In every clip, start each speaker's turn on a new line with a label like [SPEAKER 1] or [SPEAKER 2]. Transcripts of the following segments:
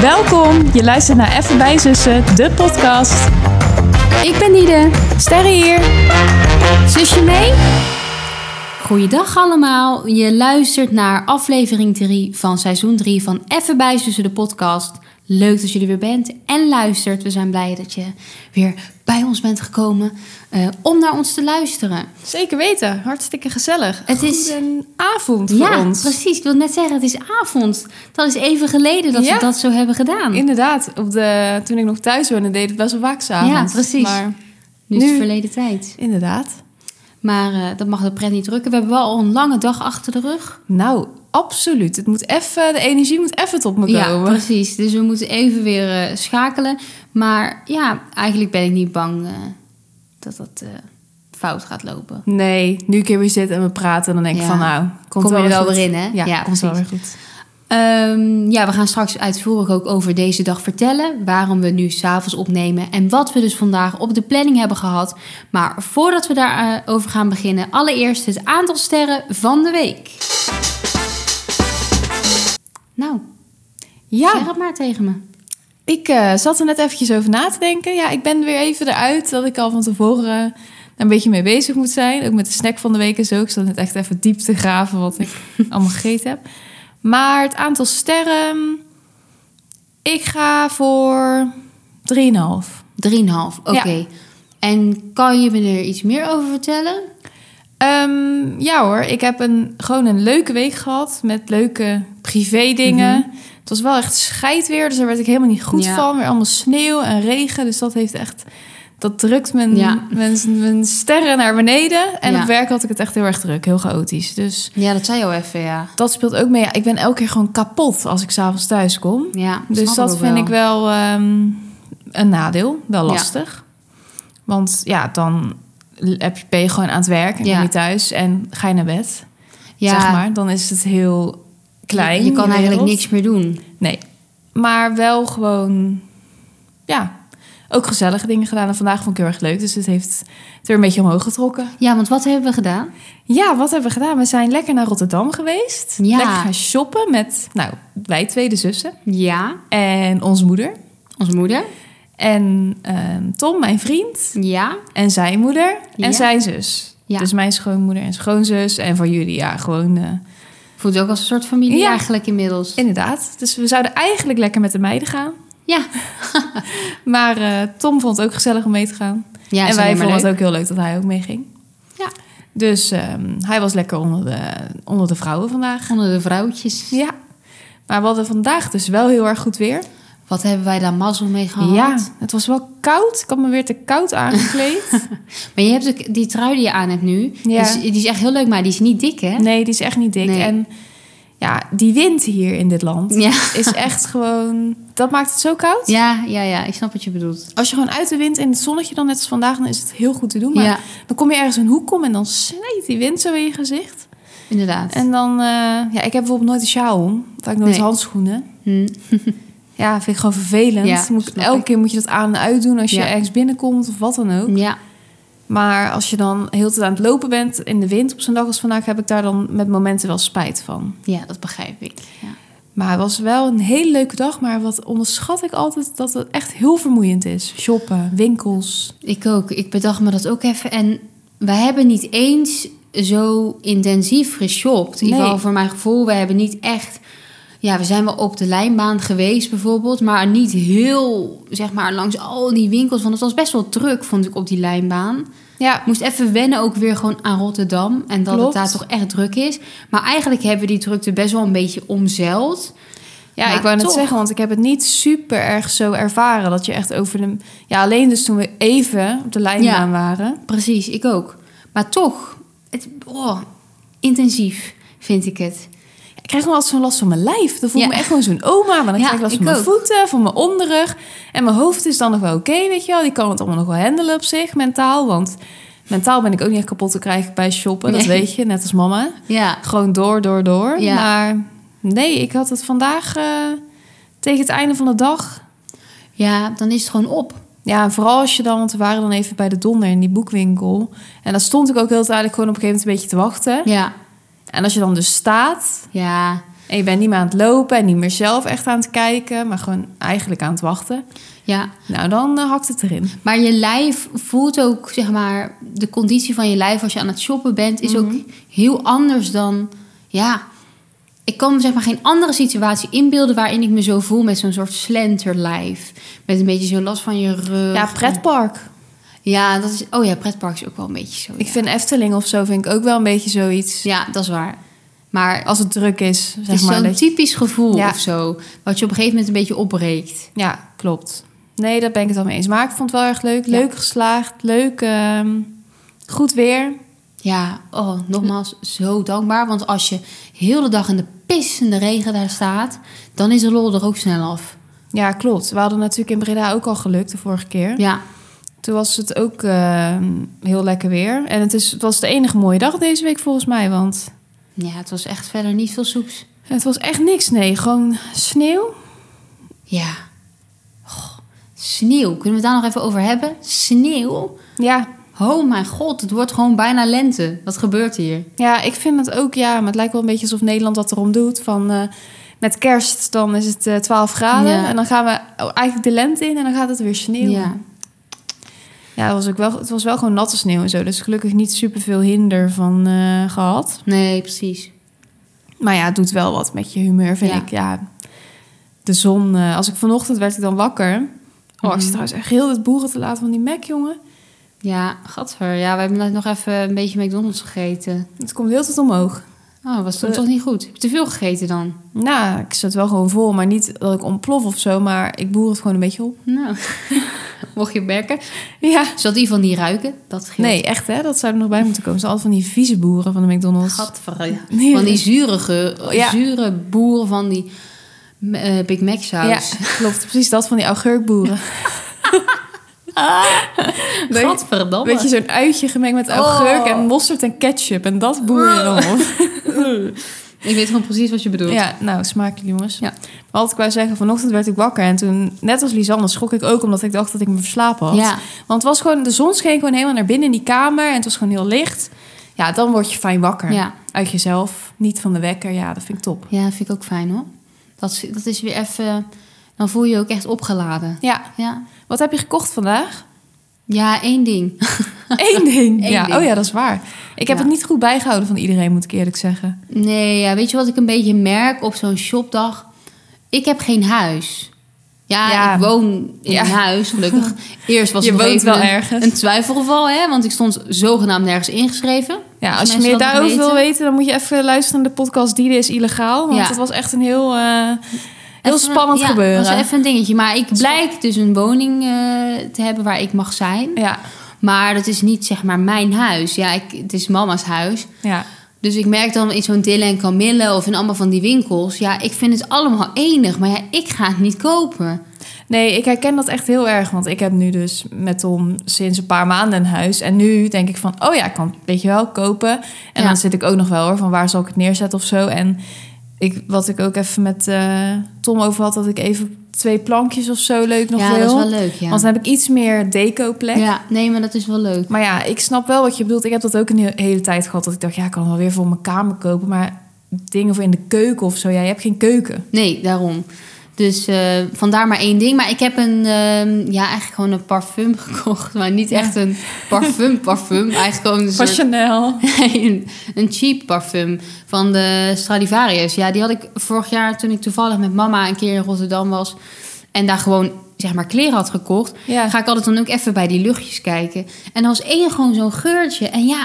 [SPEAKER 1] Welkom, je luistert naar Even bij Zussen, de podcast.
[SPEAKER 2] Ik ben Nide.
[SPEAKER 1] Sterre hier.
[SPEAKER 2] Zusje mee? Goeiedag allemaal. Je luistert naar aflevering 3 van seizoen 3 van Even bij Zussen de podcast. Leuk dat je er weer bent en luistert. We zijn blij dat je weer bij ons bent gekomen eh, om naar ons te luisteren.
[SPEAKER 1] Zeker weten, hartstikke gezellig.
[SPEAKER 2] Het is-
[SPEAKER 1] een avond voor
[SPEAKER 2] ja,
[SPEAKER 1] ons.
[SPEAKER 2] precies. Ik wil net zeggen, het is avond. Dat is even geleden dat
[SPEAKER 1] Ja.
[SPEAKER 2] we dat zo hebben gedaan.
[SPEAKER 1] Inderdaad, op de, toen ik nog thuis woonde deed het best wel vaak s'avonds.
[SPEAKER 2] Ja, precies.
[SPEAKER 1] Maar
[SPEAKER 2] nu is
[SPEAKER 1] nu-
[SPEAKER 2] het verleden tijd.
[SPEAKER 1] inderdaad.
[SPEAKER 2] Maar eh, dat mag de pret niet drukken. We hebben wel al een lange dag achter de rug.
[SPEAKER 1] Nou, absoluut. Het moet even, de energie moet even tot me
[SPEAKER 2] Ja,
[SPEAKER 1] komen.
[SPEAKER 2] precies. Dus we moeten even weer eh, schakelen. Maar ja, eigenlijk ben ik niet bang eh, dat dat eh, fout gaat lopen.
[SPEAKER 1] Nee, nu ik hier weer zit en we praten, dan denk ik
[SPEAKER 2] Ja.
[SPEAKER 1] van nou, komt
[SPEAKER 2] Kom je
[SPEAKER 1] wel
[SPEAKER 2] er wel
[SPEAKER 1] goed.
[SPEAKER 2] weer in, hè?
[SPEAKER 1] Ja,
[SPEAKER 2] Ja,
[SPEAKER 1] komt wel weer
[SPEAKER 2] precies.
[SPEAKER 1] goed.
[SPEAKER 2] Ehm, ja, we gaan straks uitvoerig ook over deze dag vertellen. Waarom we nu s'avonds opnemen. En wat we dus vandaag op de planning hebben gehad. Maar voordat we daarover over gaan beginnen. Allereerst het aantal sterren van de week. Nou, zeg
[SPEAKER 1] Ja,
[SPEAKER 2] het maar tegen me.
[SPEAKER 1] ik eh, zat er net eventjes over na te denken. Ja, ik ben weer even eruit dat ik al van tevoren eh, daar een beetje mee bezig moet zijn. Ook met de snack van de week en zo. Ik zat net echt even diep te graven wat ik allemaal gegeten heb. Maar het aantal sterren... Ik ga voor 3,5.
[SPEAKER 2] 3,5, oké. En kan je me er iets meer over vertellen?
[SPEAKER 1] Ehm, ja hoor, ik heb een, gewoon een leuke week gehad met leuke privé dingen. Het was wel echt scheidweer, dus daar werd ik helemaal niet goed
[SPEAKER 2] Mhm. Ja.
[SPEAKER 1] van. Weer allemaal sneeuw en regen, dus dat heeft echt... Dat drukt mijn,
[SPEAKER 2] Ja.
[SPEAKER 1] mijn, mijn sterren naar beneden. En
[SPEAKER 2] Ja.
[SPEAKER 1] op werk had ik het echt heel erg druk, heel chaotisch. Dus
[SPEAKER 2] Ja, dat zei je al even, ja.
[SPEAKER 1] dat speelt ook mee. Ja, ik ben elke keer gewoon kapot als ik s'avonds thuis kom.
[SPEAKER 2] Ja,
[SPEAKER 1] Dus dat vind ik wel ehm, een nadeel, wel
[SPEAKER 2] Ja.
[SPEAKER 1] lastig. Want ja, dan heb je, ben je gewoon aan het werk en
[SPEAKER 2] Ja.
[SPEAKER 1] kom je thuis en ga je naar bed,
[SPEAKER 2] ja,
[SPEAKER 1] zeg maar. Dan is het heel klein.
[SPEAKER 2] Je, kan
[SPEAKER 1] wereld.
[SPEAKER 2] eigenlijk niks meer doen.
[SPEAKER 1] Nee, maar wel gewoon, ja, ook gezellige dingen gedaan. En vandaag vond ik heel erg leuk, dus het heeft het weer een beetje omhoog getrokken.
[SPEAKER 2] Ja, want wat hebben we gedaan?
[SPEAKER 1] Ja, wat hebben we gedaan? We zijn lekker naar Rotterdam geweest.
[SPEAKER 2] Ja.
[SPEAKER 1] Lekker gaan shoppen met, nou, wij twee de zussen
[SPEAKER 2] Ja,
[SPEAKER 1] en onze moeder.
[SPEAKER 2] onze moeder.
[SPEAKER 1] En ehm, Tom, mijn vriend,
[SPEAKER 2] Ja,
[SPEAKER 1] en zijn moeder en
[SPEAKER 2] Ja.
[SPEAKER 1] zijn zus.
[SPEAKER 2] Ja.
[SPEAKER 1] Dus mijn schoonmoeder en schoonzus en van jullie, ja, gewoon... eh,
[SPEAKER 2] voelt ook als een soort familie
[SPEAKER 1] Ja.
[SPEAKER 2] eigenlijk inmiddels.
[SPEAKER 1] inderdaad. Dus we zouden eigenlijk lekker met de meiden gaan.
[SPEAKER 2] Ja,
[SPEAKER 1] Maar eh, Tom vond het ook gezellig om mee te gaan.
[SPEAKER 2] ja
[SPEAKER 1] en wij vonden
[SPEAKER 2] het
[SPEAKER 1] het ook heel leuk dat hij ook meeging.
[SPEAKER 2] Ja.
[SPEAKER 1] Dus ehm, hij was lekker onder de, onder de vrouwen vandaag.
[SPEAKER 2] Onder de vrouwtjes.
[SPEAKER 1] Ja. Maar we hadden vandaag dus wel heel erg goed weer.
[SPEAKER 2] Wat hebben wij daar mazzel mee gehad?
[SPEAKER 1] Ja, het was wel koud. Ik had me weer te koud aangekleed.
[SPEAKER 2] Maar je hebt ook die trui die je aan hebt nu.
[SPEAKER 1] Ja.
[SPEAKER 2] Die, is, die is echt heel leuk, maar die is niet dik, hè?
[SPEAKER 1] Nee, die is echt niet dik.
[SPEAKER 2] Nee.
[SPEAKER 1] En ja, die wind hier in dit land
[SPEAKER 2] Ja.
[SPEAKER 1] is echt gewoon... Dat maakt het zo koud.
[SPEAKER 2] Ja, ja, ja. Ik snap wat je bedoelt.
[SPEAKER 1] Als je gewoon uit de wind in het zonnetje dan net als vandaag... dan is het heel goed te doen. Maar
[SPEAKER 2] Ja,
[SPEAKER 1] dan kom je ergens een hoek om en dan snijdt die wind zo in je gezicht.
[SPEAKER 2] inderdaad.
[SPEAKER 1] En dan... eh, ja, ik heb bijvoorbeeld nooit een sjaal om. Of ik nooit
[SPEAKER 2] Nee.
[SPEAKER 1] handschoenen.
[SPEAKER 2] Hm.
[SPEAKER 1] Ja, vind ik gewoon vervelend.
[SPEAKER 2] Ja,
[SPEAKER 1] Moet-
[SPEAKER 2] snap
[SPEAKER 1] elke
[SPEAKER 2] ik.
[SPEAKER 1] keer moet je dat aan en uit doen als je
[SPEAKER 2] Ja. Mm.
[SPEAKER 1] ergens binnenkomt of wat dan ook.
[SPEAKER 2] Ja,
[SPEAKER 1] Maar als je dan heel de tijd aan het lopen bent in de wind op zo'n dag als vandaag... heb ik daar dan met momenten wel spijt van.
[SPEAKER 2] ja, dat begrijp ik. Ja.
[SPEAKER 1] Maar het was wel een hele leuke dag. Maar wat onderschat ik altijd dat het echt heel vermoeiend is. Shoppen, winkels.
[SPEAKER 2] Ik ook. Ik bedacht me dat ook even. En wij hebben niet eens zo intensief geshopt. In ieder
[SPEAKER 1] Nee.
[SPEAKER 2] geval voor mijn gevoel. We hebben niet echt... Ja, we zijn wel op de lijnbaan geweest bijvoorbeeld. Maar niet heel, zeg maar, langs al die winkels. Want het was best wel druk, vond ik, op die lijnbaan.
[SPEAKER 1] Ja,
[SPEAKER 2] Ik moest even wennen ook weer gewoon aan Rotterdam. En dat
[SPEAKER 1] Klopt.
[SPEAKER 2] het daar toch echt druk is. Maar eigenlijk hebben we die drukte best wel een beetje omzeild.
[SPEAKER 1] ja
[SPEAKER 2] Maar
[SPEAKER 1] ik wou net
[SPEAKER 2] toch.
[SPEAKER 1] zeggen, want ik heb het niet super erg zo ervaren. Dat je echt over de... Ja, alleen dus toen we even op de lijnbaan
[SPEAKER 2] Ja.
[SPEAKER 1] waren.
[SPEAKER 2] Precies, ik ook. Maar toch, het, oh, intensief vind ik het.
[SPEAKER 1] Ik krijg nog altijd zo'n last van mijn lijf. Dan voel ik
[SPEAKER 2] Ja.
[SPEAKER 1] me echt gewoon zo'n oma. Maar dan
[SPEAKER 2] Ja,
[SPEAKER 1] krijg ik last van
[SPEAKER 2] ik
[SPEAKER 1] mijn
[SPEAKER 2] ook.
[SPEAKER 1] voeten, van mijn onderrug. En mijn hoofd is dan nog wel oké, weet je wel. Die kan het allemaal nog wel handelen op zich, mentaal. Want mentaal ben ik ook niet echt kapot te krijgen bij shoppen. Dat
[SPEAKER 2] Nee.
[SPEAKER 1] weet je, net als mama.
[SPEAKER 2] Ja,
[SPEAKER 1] Gewoon door, door, door.
[SPEAKER 2] Ja.
[SPEAKER 1] Maar nee, ik had het vandaag eh, tegen het einde van de dag.
[SPEAKER 2] Ja, dan is het gewoon op.
[SPEAKER 1] Ja, en vooral als je dan, want we waren dan even bij de donder in die boekwinkel. En daar stond ik ook heel duidelijk gewoon op een gegeven moment een beetje te wachten.
[SPEAKER 2] Ja,
[SPEAKER 1] En als je dan dus staat
[SPEAKER 2] ja.
[SPEAKER 1] En je bent niet meer aan het lopen en niet meer zelf echt aan het kijken, maar gewoon eigenlijk aan het wachten.
[SPEAKER 2] Ja,
[SPEAKER 1] Nou, dan eh, hakt het erin.
[SPEAKER 2] maar je lijf voelt ook, zeg maar, de conditie van je lijf als je aan het shoppen bent, is
[SPEAKER 1] Mhm.
[SPEAKER 2] ook heel anders dan, ja. Ik kan me zeg maar geen andere situatie inbeelden waarin ik me zo voel met zo'n soort slenterlijf. Met een beetje zo last van je rug.
[SPEAKER 1] Ja, pretpark.
[SPEAKER 2] Ja, dat is, oh ja, pretpark is ook wel een beetje zo.
[SPEAKER 1] Ik
[SPEAKER 2] ja.
[SPEAKER 1] vind Efteling of zo vind ik ook wel een beetje zoiets.
[SPEAKER 2] Ja, dat is waar. Maar
[SPEAKER 1] Als het druk is,
[SPEAKER 2] het
[SPEAKER 1] zeg
[SPEAKER 2] is
[SPEAKER 1] maar.
[SPEAKER 2] zo'n
[SPEAKER 1] dat je-
[SPEAKER 2] typisch gevoel
[SPEAKER 1] Ja.
[SPEAKER 2] of zo. Wat je op een gegeven moment een beetje opbreekt.
[SPEAKER 1] Ja, klopt. Nee, daar ben ik het al mee eens. Maar ik vond het wel erg leuk.
[SPEAKER 2] Ja.
[SPEAKER 1] Leuk geslaagd. Leuk. ehm, goed weer.
[SPEAKER 2] Ja, oh, nogmaals, zo dankbaar. Want als je heel de dag in de pissende regen daar staat... dan is de lol er ook snel af.
[SPEAKER 1] Ja, klopt. We hadden natuurlijk in Breda ook al geluk de vorige keer.
[SPEAKER 2] Ja,
[SPEAKER 1] Toen was het ook ehm, heel lekker weer. En het, is, het was de enige mooie dag deze week volgens mij. Want
[SPEAKER 2] ja het was echt verder niet veel soeps.
[SPEAKER 1] het was echt niks. Nee, gewoon sneeuw.
[SPEAKER 2] Ja. Goh, sneeuw, kunnen we het daar nog even over hebben? Sneeuw?
[SPEAKER 1] Ja,
[SPEAKER 2] Oh mijn god, het wordt gewoon bijna lente. Wat gebeurt hier?
[SPEAKER 1] Ja, ik vind het ook, ja, maar het lijkt wel een beetje alsof Nederland dat erom doet. Van eh, met kerst, dan is het eh 12 graden.
[SPEAKER 2] Ja.
[SPEAKER 1] En dan gaan we oh, eigenlijk de lente in en dan gaat het weer sneeuw.
[SPEAKER 2] Ja.
[SPEAKER 1] Ja, het was, ook wel, het was wel gewoon natte sneeuw en zo. Dus gelukkig niet superveel hinder van eh, gehad.
[SPEAKER 2] Nee, precies.
[SPEAKER 1] Maar ja, het doet wel wat met je humeur, vind
[SPEAKER 2] Ja.
[SPEAKER 1] ik. Ja, de zon. eh, als ik vanochtend werd ik dan wakker. Oh, ik zit trouwens echt heel het boeren te laten van die Mac, jongen.
[SPEAKER 2] Ja, gadver. Ja, we hebben net nog even een beetje McDonald's gegeten.
[SPEAKER 1] Het komt heel tot omhoog.
[SPEAKER 2] Oh, was toen
[SPEAKER 1] Eh.
[SPEAKER 2] toch niet goed? Heb je te veel gegeten dan?
[SPEAKER 1] Nou, ik zat wel gewoon vol, maar niet dat ik ontplof of zo. Maar ik boer het gewoon een beetje op.
[SPEAKER 2] Nou, mocht je merken.
[SPEAKER 1] Ja.
[SPEAKER 2] Zal die van die ruiken? Dat scheelt.
[SPEAKER 1] Nee, echt hè? Dat zou er nog bij moeten komen. Ze altijd van die vieze boeren van de McDonald's.
[SPEAKER 2] Gadver, ja.
[SPEAKER 1] Nee. Oh,
[SPEAKER 2] Van die zure, geur-
[SPEAKER 1] Ja.
[SPEAKER 2] zure boeren van die eh, Big Mac saus.
[SPEAKER 1] Ja, klopt. Precies dat van die augurkboeren. Weet-
[SPEAKER 2] Gadverdamme.
[SPEAKER 1] Weet je, zo'n uitje gemengd met augurk
[SPEAKER 2] Oh.
[SPEAKER 1] en mosterd en ketchup. En dat boer je dan op.
[SPEAKER 2] Ik weet gewoon precies wat je bedoelt.
[SPEAKER 1] Ja, nou, smakelijk jongens.
[SPEAKER 2] Ja.
[SPEAKER 1] Maar Wat ik wou zeggen, vanochtend werd ik wakker. En toen, net als Lisanne, schrok ik ook omdat ik dacht dat ik me verslapen had.
[SPEAKER 2] Ja.
[SPEAKER 1] Want het was gewoon, de zon scheen gewoon helemaal naar binnen in die kamer. En het was gewoon heel licht. Ja, dan word je fijn wakker.
[SPEAKER 2] Ja.
[SPEAKER 1] Uit jezelf, niet van de wekker. Ja, dat vind ik top.
[SPEAKER 2] Ja, vind ik ook fijn hoor. Dat is, dat is weer even... Dan voel je je ook echt opgeladen.
[SPEAKER 1] Ja,
[SPEAKER 2] Ja,
[SPEAKER 1] wat heb je gekocht vandaag?
[SPEAKER 2] ja één ding.
[SPEAKER 1] Eén ding.
[SPEAKER 2] Eén
[SPEAKER 1] ja,
[SPEAKER 2] ding.
[SPEAKER 1] Oh ja, dat is waar. Ik heb
[SPEAKER 2] Ja.
[SPEAKER 1] het niet goed bijgehouden van iedereen, moet ik eerlijk zeggen.
[SPEAKER 2] Nee, ja, weet je wat ik een beetje merk op zo'n shopdag? Ik heb geen huis. Ja,
[SPEAKER 1] Ja.
[SPEAKER 2] ik woon in
[SPEAKER 1] Ja.
[SPEAKER 2] een huis, gelukkig. Eerst was
[SPEAKER 1] Je
[SPEAKER 2] het nog
[SPEAKER 1] woont
[SPEAKER 2] even
[SPEAKER 1] wel
[SPEAKER 2] een,
[SPEAKER 1] ergens.
[SPEAKER 2] een twijfelgeval, hè? Want ik stond zogenaamd nergens ingeschreven.
[SPEAKER 1] Ja, als je
[SPEAKER 2] mensen
[SPEAKER 1] meer
[SPEAKER 2] dat nog
[SPEAKER 1] daarover wil
[SPEAKER 2] weten.
[SPEAKER 1] weten, dan moet je even luisteren naar de podcast Die is Illegaal. Want
[SPEAKER 2] Ja.
[SPEAKER 1] het was echt een heel, eh, heel
[SPEAKER 2] Even-
[SPEAKER 1] spannend
[SPEAKER 2] ja,
[SPEAKER 1] gebeuren.
[SPEAKER 2] was even een dingetje. Maar ik blijk dus een woning eh, te hebben waar ik mag zijn.
[SPEAKER 1] Ja,
[SPEAKER 2] Maar dat is niet zeg maar mijn huis. Ja, ik, het is mama's huis.
[SPEAKER 1] ja.
[SPEAKER 2] Dus ik merk dan in zo'n Dille en Camille of in allemaal van die winkels. Ja, ik vind het allemaal enig. Maar ja, ik ga het niet kopen.
[SPEAKER 1] Nee, ik herken dat echt heel erg. Want ik heb nu dus met Tom sinds een paar maanden een huis. En nu denk ik van, oh ja, ik kan het, weet je wel, kopen. En
[SPEAKER 2] Ja.
[SPEAKER 1] dan zit ik ook nog wel hoor, van waar zal ik het neerzetten of zo. En ik, wat ik ook even met eh, Tom over had, dat ik even twee plankjes of zo leuk nog
[SPEAKER 2] ja,
[SPEAKER 1] wil.
[SPEAKER 2] dat is wel leuk, ja.
[SPEAKER 1] Want dan heb ik iets meer deco-plek.
[SPEAKER 2] Ja, nee, maar dat is wel leuk.
[SPEAKER 1] Maar ja, ik snap wel wat je bedoelt. Ik heb dat ook een he- hele tijd gehad. Dat ik dacht, ja, ik kan wel weer voor mijn kamer kopen. Maar dingen voor in de keuken of zo. Ja, je hebt geen keuken.
[SPEAKER 2] Nee, daarom. Dus eh, vandaar maar één ding. Maar ik heb een, ehm, ja, eigenlijk gewoon een parfum gekocht. Maar niet
[SPEAKER 1] Ja.
[SPEAKER 2] echt een parfum parfum. Eigenlijk gewoon een
[SPEAKER 1] Van
[SPEAKER 2] soort
[SPEAKER 1] Chanel.
[SPEAKER 2] Nee, een, een cheap parfum van de Stradivarius. Ja, die had ik vorig jaar toen ik toevallig met mama een keer in Rotterdam was. En daar gewoon, zeg maar, kleren had gekocht.
[SPEAKER 1] Ja.
[SPEAKER 2] Eh, Ga ik altijd dan ook even bij die luchtjes kijken. En als één gewoon zo'n geurtje. En ja,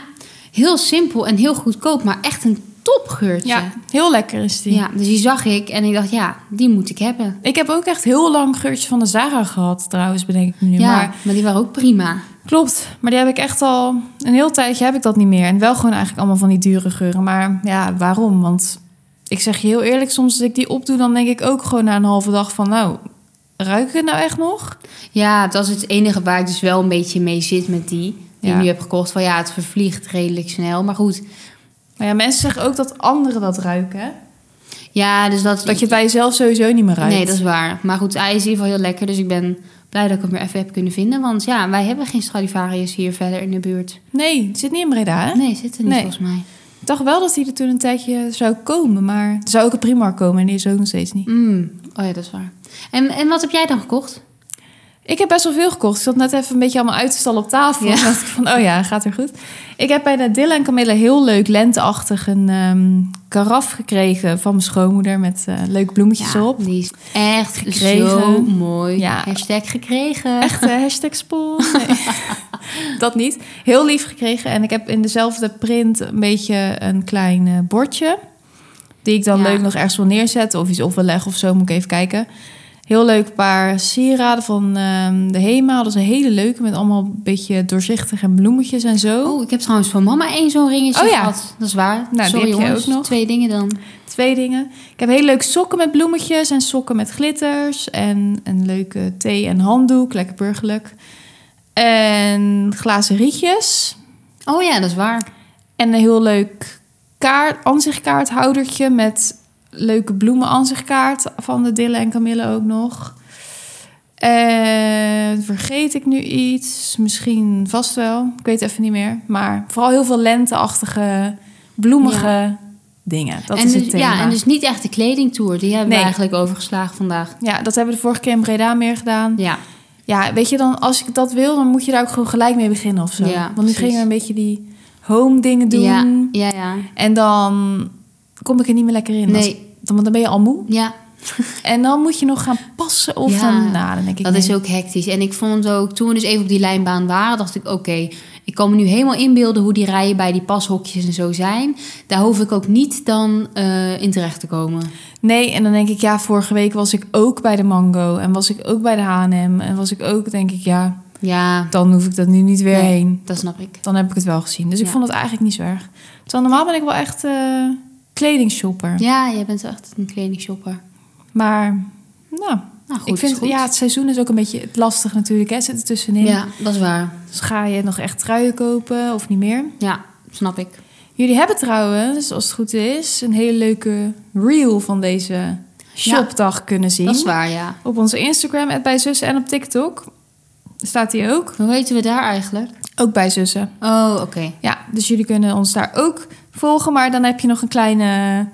[SPEAKER 2] heel simpel en heel goedkoop. Maar echt een topgeurtje.
[SPEAKER 1] Ja, heel lekker is die.
[SPEAKER 2] ja, dus die zag ik. En ik dacht, ja, die moet ik hebben.
[SPEAKER 1] Ik heb ook echt heel lang geurtje van de Zara gehad, trouwens, bedenk ik me nu.
[SPEAKER 2] Ja, maar,
[SPEAKER 1] Maar
[SPEAKER 2] die waren ook prima.
[SPEAKER 1] klopt, maar die heb ik echt al een heel tijdje heb ik dat niet meer. En wel gewoon eigenlijk allemaal van die dure geuren. Maar ja, waarom? Want ik zeg je heel eerlijk, soms als ik die opdoe, dan denk ik ook gewoon na een halve dag van, nou, ruik ik het nou echt nog?
[SPEAKER 2] Ja, dat is het enige waar ik dus wel een beetje mee zit met die. Die
[SPEAKER 1] Ja.
[SPEAKER 2] ik nu heb gekocht. Van ja, het vervliegt redelijk snel. Maar goed,
[SPEAKER 1] Maar ja, mensen zeggen ook dat anderen dat ruiken, hè?
[SPEAKER 2] Ja, dus dat...
[SPEAKER 1] Dat je het bij jezelf sowieso niet meer ruikt.
[SPEAKER 2] Nee, dat is waar. Maar goed, hij is in ieder geval heel lekker. Dus ik ben blij dat ik hem weer even heb kunnen vinden. Want ja, wij hebben geen Stradivarius hier verder in de buurt.
[SPEAKER 1] Nee, het zit niet in Breda, hè?
[SPEAKER 2] Nee, zit er niet
[SPEAKER 1] Nee.
[SPEAKER 2] volgens mij.
[SPEAKER 1] Ik dacht wel dat hij er toen een tijdje zou komen, maar er zou ook een Primark komen en die is er ook nog steeds niet.
[SPEAKER 2] Mm, Oh ja, dat is waar. En, en wat heb jij dan gekocht?
[SPEAKER 1] Ik heb best wel veel gekocht. Ik zat net even een beetje allemaal uit te stallen op tafel.
[SPEAKER 2] Ja.
[SPEAKER 1] Toen dacht ik van, oh ja, gaat er goed. Ik heb bij Nadilla en Camilla heel leuk lenteachtig een ehm, karaf gekregen van mijn schoonmoeder met eh leuke bloemetjes
[SPEAKER 2] Ja,
[SPEAKER 1] erop.
[SPEAKER 2] Die is echt
[SPEAKER 1] Gekregen.
[SPEAKER 2] zo mooi.
[SPEAKER 1] Ja.
[SPEAKER 2] Hashtag gekregen.
[SPEAKER 1] Echt eh, hashtag spoel. Nee. dat niet. Heel lief gekregen. En ik heb in dezelfde print een beetje een klein eh, bordje. Die ik dan
[SPEAKER 2] Ja.
[SPEAKER 1] leuk nog ergens wil neerzetten. Of iets op wil leggen of zo. Moet ik even kijken. Heel leuk paar sieraden van ehm, de HEMA. Dat is een hele leuke. Met allemaal een beetje doorzichtig en bloemetjes en zo.
[SPEAKER 2] Oh, ik heb trouwens van mama één zo'n ringetje
[SPEAKER 1] Oh ja.
[SPEAKER 2] gehad. Dat is waar.
[SPEAKER 1] die
[SPEAKER 2] Sorry
[SPEAKER 1] heb jij
[SPEAKER 2] jongens,
[SPEAKER 1] ook nog.
[SPEAKER 2] twee dingen dan.
[SPEAKER 1] Twee dingen. Ik heb hele leuke sokken met bloemetjes. En sokken met glitters. En een leuke thee en handdoek. Lekker burgerlijk. En glazen rietjes.
[SPEAKER 2] Oh ja, dat is waar.
[SPEAKER 1] En een heel leuk kaart, ansichtkaarthoudertje met leuke bloemen ansichtkaart van de Dille en Camille ook nog. En vergeet ik nu iets? Misschien vast wel. Ik weet even niet meer. Maar vooral heel veel lenteachtige, bloemige dingen. Dat
[SPEAKER 2] en
[SPEAKER 1] is
[SPEAKER 2] dus,
[SPEAKER 1] het thema.
[SPEAKER 2] Ja, en dus niet echt de kledingtour. Die hebben
[SPEAKER 1] Nee.
[SPEAKER 2] we eigenlijk overgeslagen vandaag.
[SPEAKER 1] Ja, dat hebben we de vorige keer in Breda meer gedaan.
[SPEAKER 2] Ja,
[SPEAKER 1] Ja, weet je dan, als ik dat wil, dan moet je daar ook gewoon gelijk mee beginnen of zo.
[SPEAKER 2] Ja,
[SPEAKER 1] Want nu
[SPEAKER 2] precies.
[SPEAKER 1] gingen we een beetje die home dingen doen.
[SPEAKER 2] ja, ja. ja.
[SPEAKER 1] En dan kom ik er niet meer lekker in. Als-
[SPEAKER 2] Nee,
[SPEAKER 1] dan- Want dan ben je al moe.
[SPEAKER 2] ja,
[SPEAKER 1] En dan moet je nog gaan passen. Of
[SPEAKER 2] Ja,
[SPEAKER 1] dan, nou, dan denk ik
[SPEAKER 2] dat is
[SPEAKER 1] nee.
[SPEAKER 2] ook hectisch. En ik vond ook, toen we dus even op die lijnbaan waren, dacht ik, oké, ik kan me nu helemaal inbeelden hoe die rijen bij die pashokjes en zo zijn. Daar hoef ik ook niet dan eh, in terecht te komen.
[SPEAKER 1] Nee, en dan denk ik, ja, vorige week was ik ook bij de Mango. En was ik ook bij de H&M. En was ik ook, denk ik, ja,
[SPEAKER 2] Ja,
[SPEAKER 1] dan hoef ik dat nu niet weer
[SPEAKER 2] Nee.
[SPEAKER 1] heen.
[SPEAKER 2] dat snap ik.
[SPEAKER 1] Dan heb ik het wel gezien. Dus ik
[SPEAKER 2] Ja.
[SPEAKER 1] vond het eigenlijk niet zo erg. Terwijl normaal ben ik wel echt eh, kledingshopper.
[SPEAKER 2] Ja, jij bent echt een kledingshopper.
[SPEAKER 1] Maar, nou,
[SPEAKER 2] Nou goed,
[SPEAKER 1] ik vind,
[SPEAKER 2] is goed.
[SPEAKER 1] ja, het seizoen is ook een beetje het lastig natuurlijk. Hè, zit er tussenin.
[SPEAKER 2] ja, dat is waar.
[SPEAKER 1] Dus ga je nog echt truien kopen of niet meer?
[SPEAKER 2] Ja, snap ik.
[SPEAKER 1] Jullie hebben trouwens, als het goed is, een hele leuke reel van deze shopdag kunnen zien.
[SPEAKER 2] Dat is waar, ja.
[SPEAKER 1] Op onze Instagram, at bij zussen en op TikTok staat die ook.
[SPEAKER 2] Hoe weten we daar eigenlijk?
[SPEAKER 1] Ook bij zussen.
[SPEAKER 2] Oh, oké.
[SPEAKER 1] Ja, dus jullie kunnen ons daar ook volgen. Maar dan heb je nog een kleine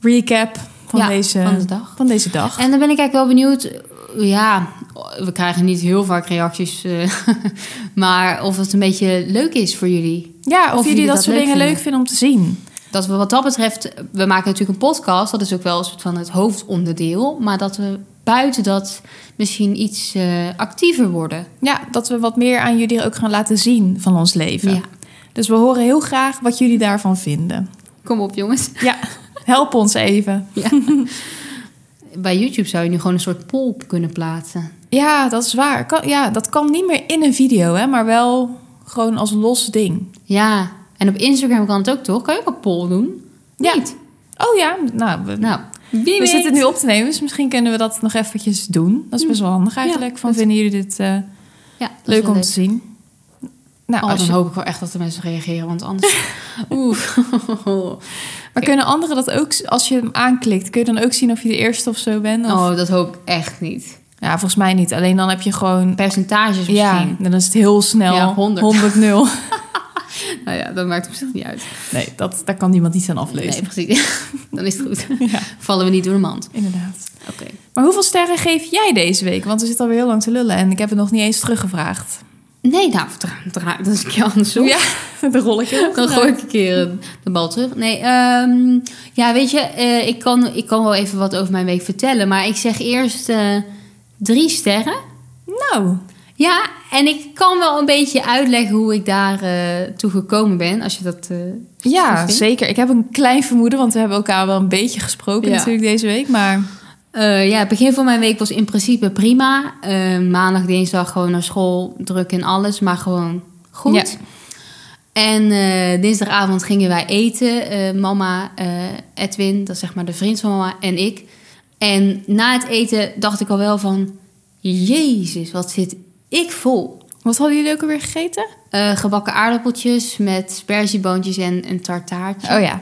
[SPEAKER 1] recap van,
[SPEAKER 2] Ja,
[SPEAKER 1] deze,
[SPEAKER 2] van de dag.
[SPEAKER 1] van deze dag.
[SPEAKER 2] En dan ben ik eigenlijk wel benieuwd. eh, Ja, we krijgen niet heel vaak reacties. eh, maar of het een beetje leuk is voor jullie.
[SPEAKER 1] ja, of, jullie dat, soort
[SPEAKER 2] leuk
[SPEAKER 1] dingen
[SPEAKER 2] vinden.
[SPEAKER 1] leuk vinden om te zien.
[SPEAKER 2] Dat we wat dat betreft, we maken natuurlijk een podcast. Dat is ook wel een soort van het hoofdonderdeel. Maar dat we buiten dat misschien iets eh, actiever worden.
[SPEAKER 1] Ja, dat we wat meer aan jullie ook gaan laten zien van ons leven.
[SPEAKER 2] Ja.
[SPEAKER 1] Dus we horen heel graag wat jullie daarvan vinden.
[SPEAKER 2] Kom op, jongens.
[SPEAKER 1] Ja, help ons even.
[SPEAKER 2] Bij YouTube zou je nu gewoon een soort poll kunnen plaatsen.
[SPEAKER 1] Ja, dat is waar. Kan, ja, dat kan niet meer in een video, hè, maar wel gewoon als los ding.
[SPEAKER 2] Ja, en op Instagram kan het ook toch? Kan je ook een poll doen?
[SPEAKER 1] Ja.
[SPEAKER 2] Niet.
[SPEAKER 1] Oh ja, nou, we,
[SPEAKER 2] Nou, wie
[SPEAKER 1] we
[SPEAKER 2] weet.
[SPEAKER 1] zitten nu op te nemen, dus misschien kunnen we dat nog eventjes doen. Dat is best wel handig eigenlijk. Van, vinden jullie dit eh,
[SPEAKER 2] Ja, dat Hm. is
[SPEAKER 1] leuk
[SPEAKER 2] wel
[SPEAKER 1] om te zien? Nou,
[SPEAKER 2] Oh,
[SPEAKER 1] als
[SPEAKER 2] dan
[SPEAKER 1] je-
[SPEAKER 2] hoop ik wel echt dat de mensen reageren, want anders... Oeh.
[SPEAKER 1] maar kunnen anderen dat ook, s- als je hem aanklikt, kun je dan ook zien of je de eerste of zo bent? Of?
[SPEAKER 2] Oh, dat hoop ik echt niet.
[SPEAKER 1] Ja, volgens mij niet. Alleen dan heb je gewoon,
[SPEAKER 2] Percentages misschien.
[SPEAKER 1] ja, dan is het heel snel
[SPEAKER 2] Ja, 100.
[SPEAKER 1] 0
[SPEAKER 2] Nou ja, dat maakt op zich niet uit.
[SPEAKER 1] Nee, dat, daar kan niemand iets aan
[SPEAKER 2] Nee,
[SPEAKER 1] aflezen.
[SPEAKER 2] precies. dan is het goed.
[SPEAKER 1] Ja,
[SPEAKER 2] Vallen we niet door de mand.
[SPEAKER 1] inderdaad.
[SPEAKER 2] Oké.
[SPEAKER 1] Maar hoeveel sterren geef jij deze week? Want we zitten alweer heel lang te lullen en ik heb het nog niet eens teruggevraagd.
[SPEAKER 2] Nee, nou, dra- dra- dat is een keer andersom.
[SPEAKER 1] Ja, de rolletje.
[SPEAKER 2] Dan gooi ik een keer eh, de bal terug. Nee, ehm, ja, weet je, eh, ik, kan, ik kan wel even wat over mijn week vertellen. Maar ik zeg eerst eh, drie sterren.
[SPEAKER 1] Nou,
[SPEAKER 2] Ja, en ik kan wel een beetje uitleggen hoe ik daar eh, toe gekomen ben. Als je dat... eh,
[SPEAKER 1] ja,
[SPEAKER 2] vindt.
[SPEAKER 1] zeker. Ik heb een klein vermoeden, want we hebben elkaar wel een beetje gesproken
[SPEAKER 2] Ja.
[SPEAKER 1] natuurlijk deze week. Maar
[SPEAKER 2] Eh, ja, het begin van mijn week was in principe prima. Eh, maandag, dinsdag gewoon naar school, druk en alles, maar gewoon goed.
[SPEAKER 1] Ja.
[SPEAKER 2] En eh, dinsdagavond gingen wij eten. Eh, mama, eh, Edwin, dat is zeg maar de vriend van mama, en ik. En na het eten dacht ik al wel van... Jezus, wat zit ik vol.
[SPEAKER 1] wat hadden jullie ook alweer gegeten?
[SPEAKER 2] Eh, gebakken aardappeltjes met sperzieboontjes en een tartaartje.
[SPEAKER 1] Oh ja.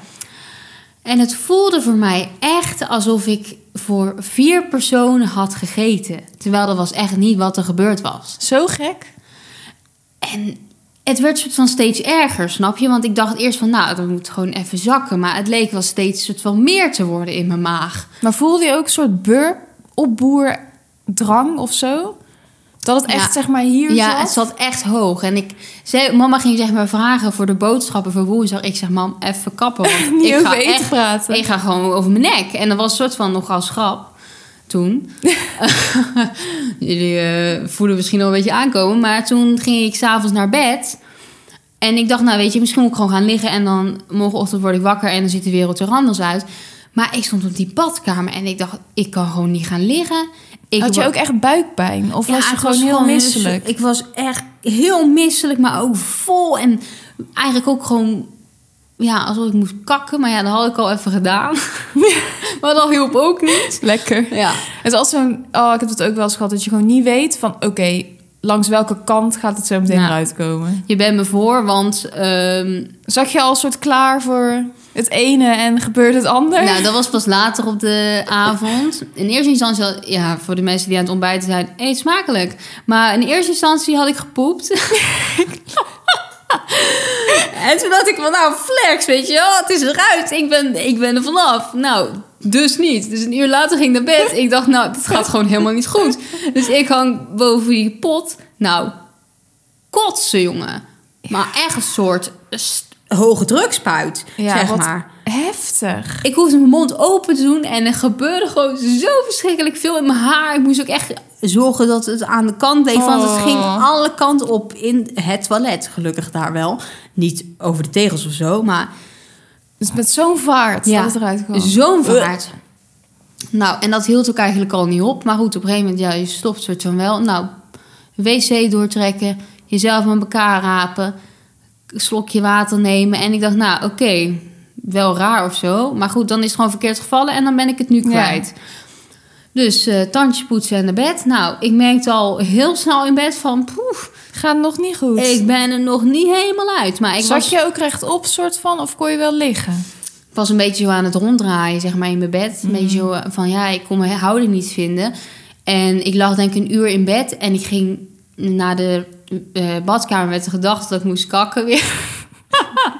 [SPEAKER 2] En het voelde voor mij echt alsof ik voor vier personen had gegeten. Terwijl dat was echt niet wat er gebeurd was.
[SPEAKER 1] Zo gek.
[SPEAKER 2] En het werd soort van steeds erger, snap je? Want ik dacht eerst van, nou, dat moet gewoon even zakken. Maar het leek wel steeds soort van meer te worden in mijn maag.
[SPEAKER 1] Maar voelde je ook een soort burp, opboerdrang of zo? Dat het echt,
[SPEAKER 2] Ja.
[SPEAKER 1] zeg maar, hier
[SPEAKER 2] ja,
[SPEAKER 1] zat?
[SPEAKER 2] het zat echt hoog. En ik zei, mama ging zeg maar vragen voor de boodschappen voor woensdag. Ik zeg, mam, even kappen. Want
[SPEAKER 1] Niet
[SPEAKER 2] ik
[SPEAKER 1] over
[SPEAKER 2] ga
[SPEAKER 1] eten
[SPEAKER 2] echt,
[SPEAKER 1] praten.
[SPEAKER 2] Ik ga gewoon over mijn nek. En dat was een soort van nogal schrap toen. Jullie eh, voelen misschien al een beetje aankomen. Maar toen ging ik s'avonds naar bed. En ik dacht, nou weet je, misschien moet ik gewoon gaan liggen. En dan morgenochtend word ik wakker en dan ziet de wereld er anders uit. Maar ik stond op die badkamer en ik dacht, ik kan gewoon niet gaan liggen. Ik
[SPEAKER 1] Had je
[SPEAKER 2] wa-
[SPEAKER 1] ook echt buikpijn? Of
[SPEAKER 2] ja,
[SPEAKER 1] was je
[SPEAKER 2] ik
[SPEAKER 1] gewoon
[SPEAKER 2] was
[SPEAKER 1] heel
[SPEAKER 2] gewoon
[SPEAKER 1] misselijk?
[SPEAKER 2] Ik was echt heel misselijk, maar ook vol. En eigenlijk ook gewoon, ja, alsof ik moest kakken. Maar ja, dat had ik al even gedaan. maar dat hielp ook niet.
[SPEAKER 1] Lekker.
[SPEAKER 2] Ja,
[SPEAKER 1] Het is als zo'n... Oh, ik heb dat ook wel eens gehad. Dat je gewoon niet weet van... Oké, langs welke kant gaat het zo meteen
[SPEAKER 2] Ja.
[SPEAKER 1] eruit komen?
[SPEAKER 2] je bent me voor, want ehm,
[SPEAKER 1] Zag je al een soort klaar voor het ene en gebeurt het ander?
[SPEAKER 2] nou, dat was pas later op de avond. In eerste instantie, had- ja, voor de mensen die aan het ontbijten zijn, eet smakelijk. Maar in eerste instantie had ik gepoept. en toen dacht ik van, nou, flex, weet je wel, het is eruit. Ik ben, ik ben er vanaf. Nou, dus niet. Dus een uur later ging ik naar bed. Ik dacht, nou, dit gaat gewoon helemaal niet goed. Dus ik hang boven die pot. Nou, kotsen, jongen. Maar echt een soort st- hoge drukspuit,
[SPEAKER 1] Ja,
[SPEAKER 2] zeg
[SPEAKER 1] wat-
[SPEAKER 2] maar.
[SPEAKER 1] Heftig.
[SPEAKER 2] Ik hoefde mijn mond open te doen en er gebeurde gewoon zo verschrikkelijk veel in mijn haar. Ik moest ook echt zorgen dat het aan de kant bleef, want het
[SPEAKER 1] Oh.
[SPEAKER 2] ging alle kanten op in het toilet. Gelukkig daar wel. Niet over de tegels of zo, maar
[SPEAKER 1] Dus met zo'n vaart
[SPEAKER 2] Ja. Dus-
[SPEAKER 1] dat het eruit kwam.
[SPEAKER 2] zo'n vaart. Nou, en dat hield ook eigenlijk al niet op. Maar goed, op een gegeven moment, ja, je stopt soort van wel. Nou, wc doortrekken, jezelf aan elkaar rapen, een slokje water nemen. En ik dacht, nou, oké, wel raar of zo. Maar goed, dan is het gewoon verkeerd gevallen en dan ben ik het nu
[SPEAKER 1] Ja.
[SPEAKER 2] kwijt. Dus eh tandjes poetsen en naar bed. Nou, ik merkte al heel snel in bed van... Poef,
[SPEAKER 1] Gaat nog niet goed.
[SPEAKER 2] ik ben er nog niet helemaal uit. Maar ik
[SPEAKER 1] Zat
[SPEAKER 2] was,
[SPEAKER 1] je ook rechtop soort van? Of kon je wel liggen?
[SPEAKER 2] ik was een beetje zo aan het ronddraaien, zeg maar, in mijn bed. Een
[SPEAKER 1] Mhm.
[SPEAKER 2] beetje zo van, ja, ik kon mijn houding niet vinden. En ik lag denk ik een uur in bed. En ik ging naar de eh, badkamer met de gedachte dat ik moest kakken weer.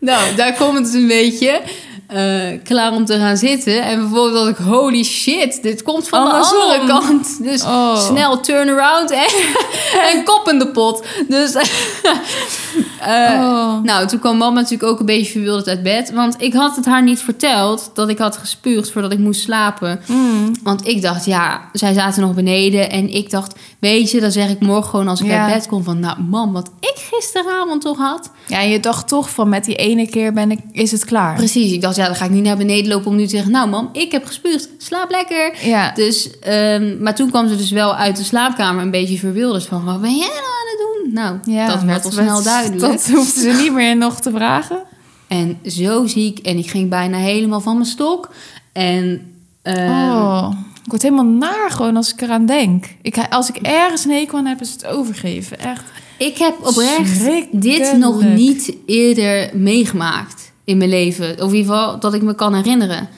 [SPEAKER 2] nou, daar komt het een beetje. eh, klaar om te gaan zitten. En vervolgens dacht ik, holy shit, dit komt van
[SPEAKER 1] Andersom.
[SPEAKER 2] de andere kant. Dus
[SPEAKER 1] Oh.
[SPEAKER 2] snel turnaround en, en kop in de pot. Dus... eh,
[SPEAKER 1] oh.
[SPEAKER 2] nou, toen kwam mama natuurlijk ook een beetje verwilderd uit bed. Want ik had het haar niet verteld dat ik had gespuugd voordat ik moest slapen.
[SPEAKER 1] Mm.
[SPEAKER 2] Want ik dacht, ja, zij zaten nog beneden. En ik dacht, weet je, dan zeg ik morgen gewoon als ik
[SPEAKER 1] Ja.
[SPEAKER 2] uit bed kom van... Nou, mam, wat ik gisteravond toch had.
[SPEAKER 1] Ja, je dacht toch van met die ene keer ben ik, is het klaar.
[SPEAKER 2] Precies, ik dacht, ja, dan ga ik niet naar beneden lopen om nu te zeggen... Nou, mam, ik heb gespuugd, slaap lekker.
[SPEAKER 1] Ja.
[SPEAKER 2] Dus, ehm, maar toen kwam ze dus wel uit de slaapkamer een beetje verwilderd van... Wat ben jij nou aan het doen? Nou,
[SPEAKER 1] ja,
[SPEAKER 2] dat werd al snel duidelijk.
[SPEAKER 1] Dat hoefden ze niet meer nog te vragen.
[SPEAKER 2] En zo ziek. En ik ging bijna helemaal van mijn stok. En eh,
[SPEAKER 1] oh, ik word helemaal naar gewoon als ik eraan denk. Ik, als ik ergens een hekel aan heb, is het overgeven. Echt.
[SPEAKER 2] ik heb oprecht
[SPEAKER 1] Schrikkelijk.
[SPEAKER 2] dit nog niet eerder meegemaakt in mijn leven. Of in ieder geval dat ik me kan herinneren.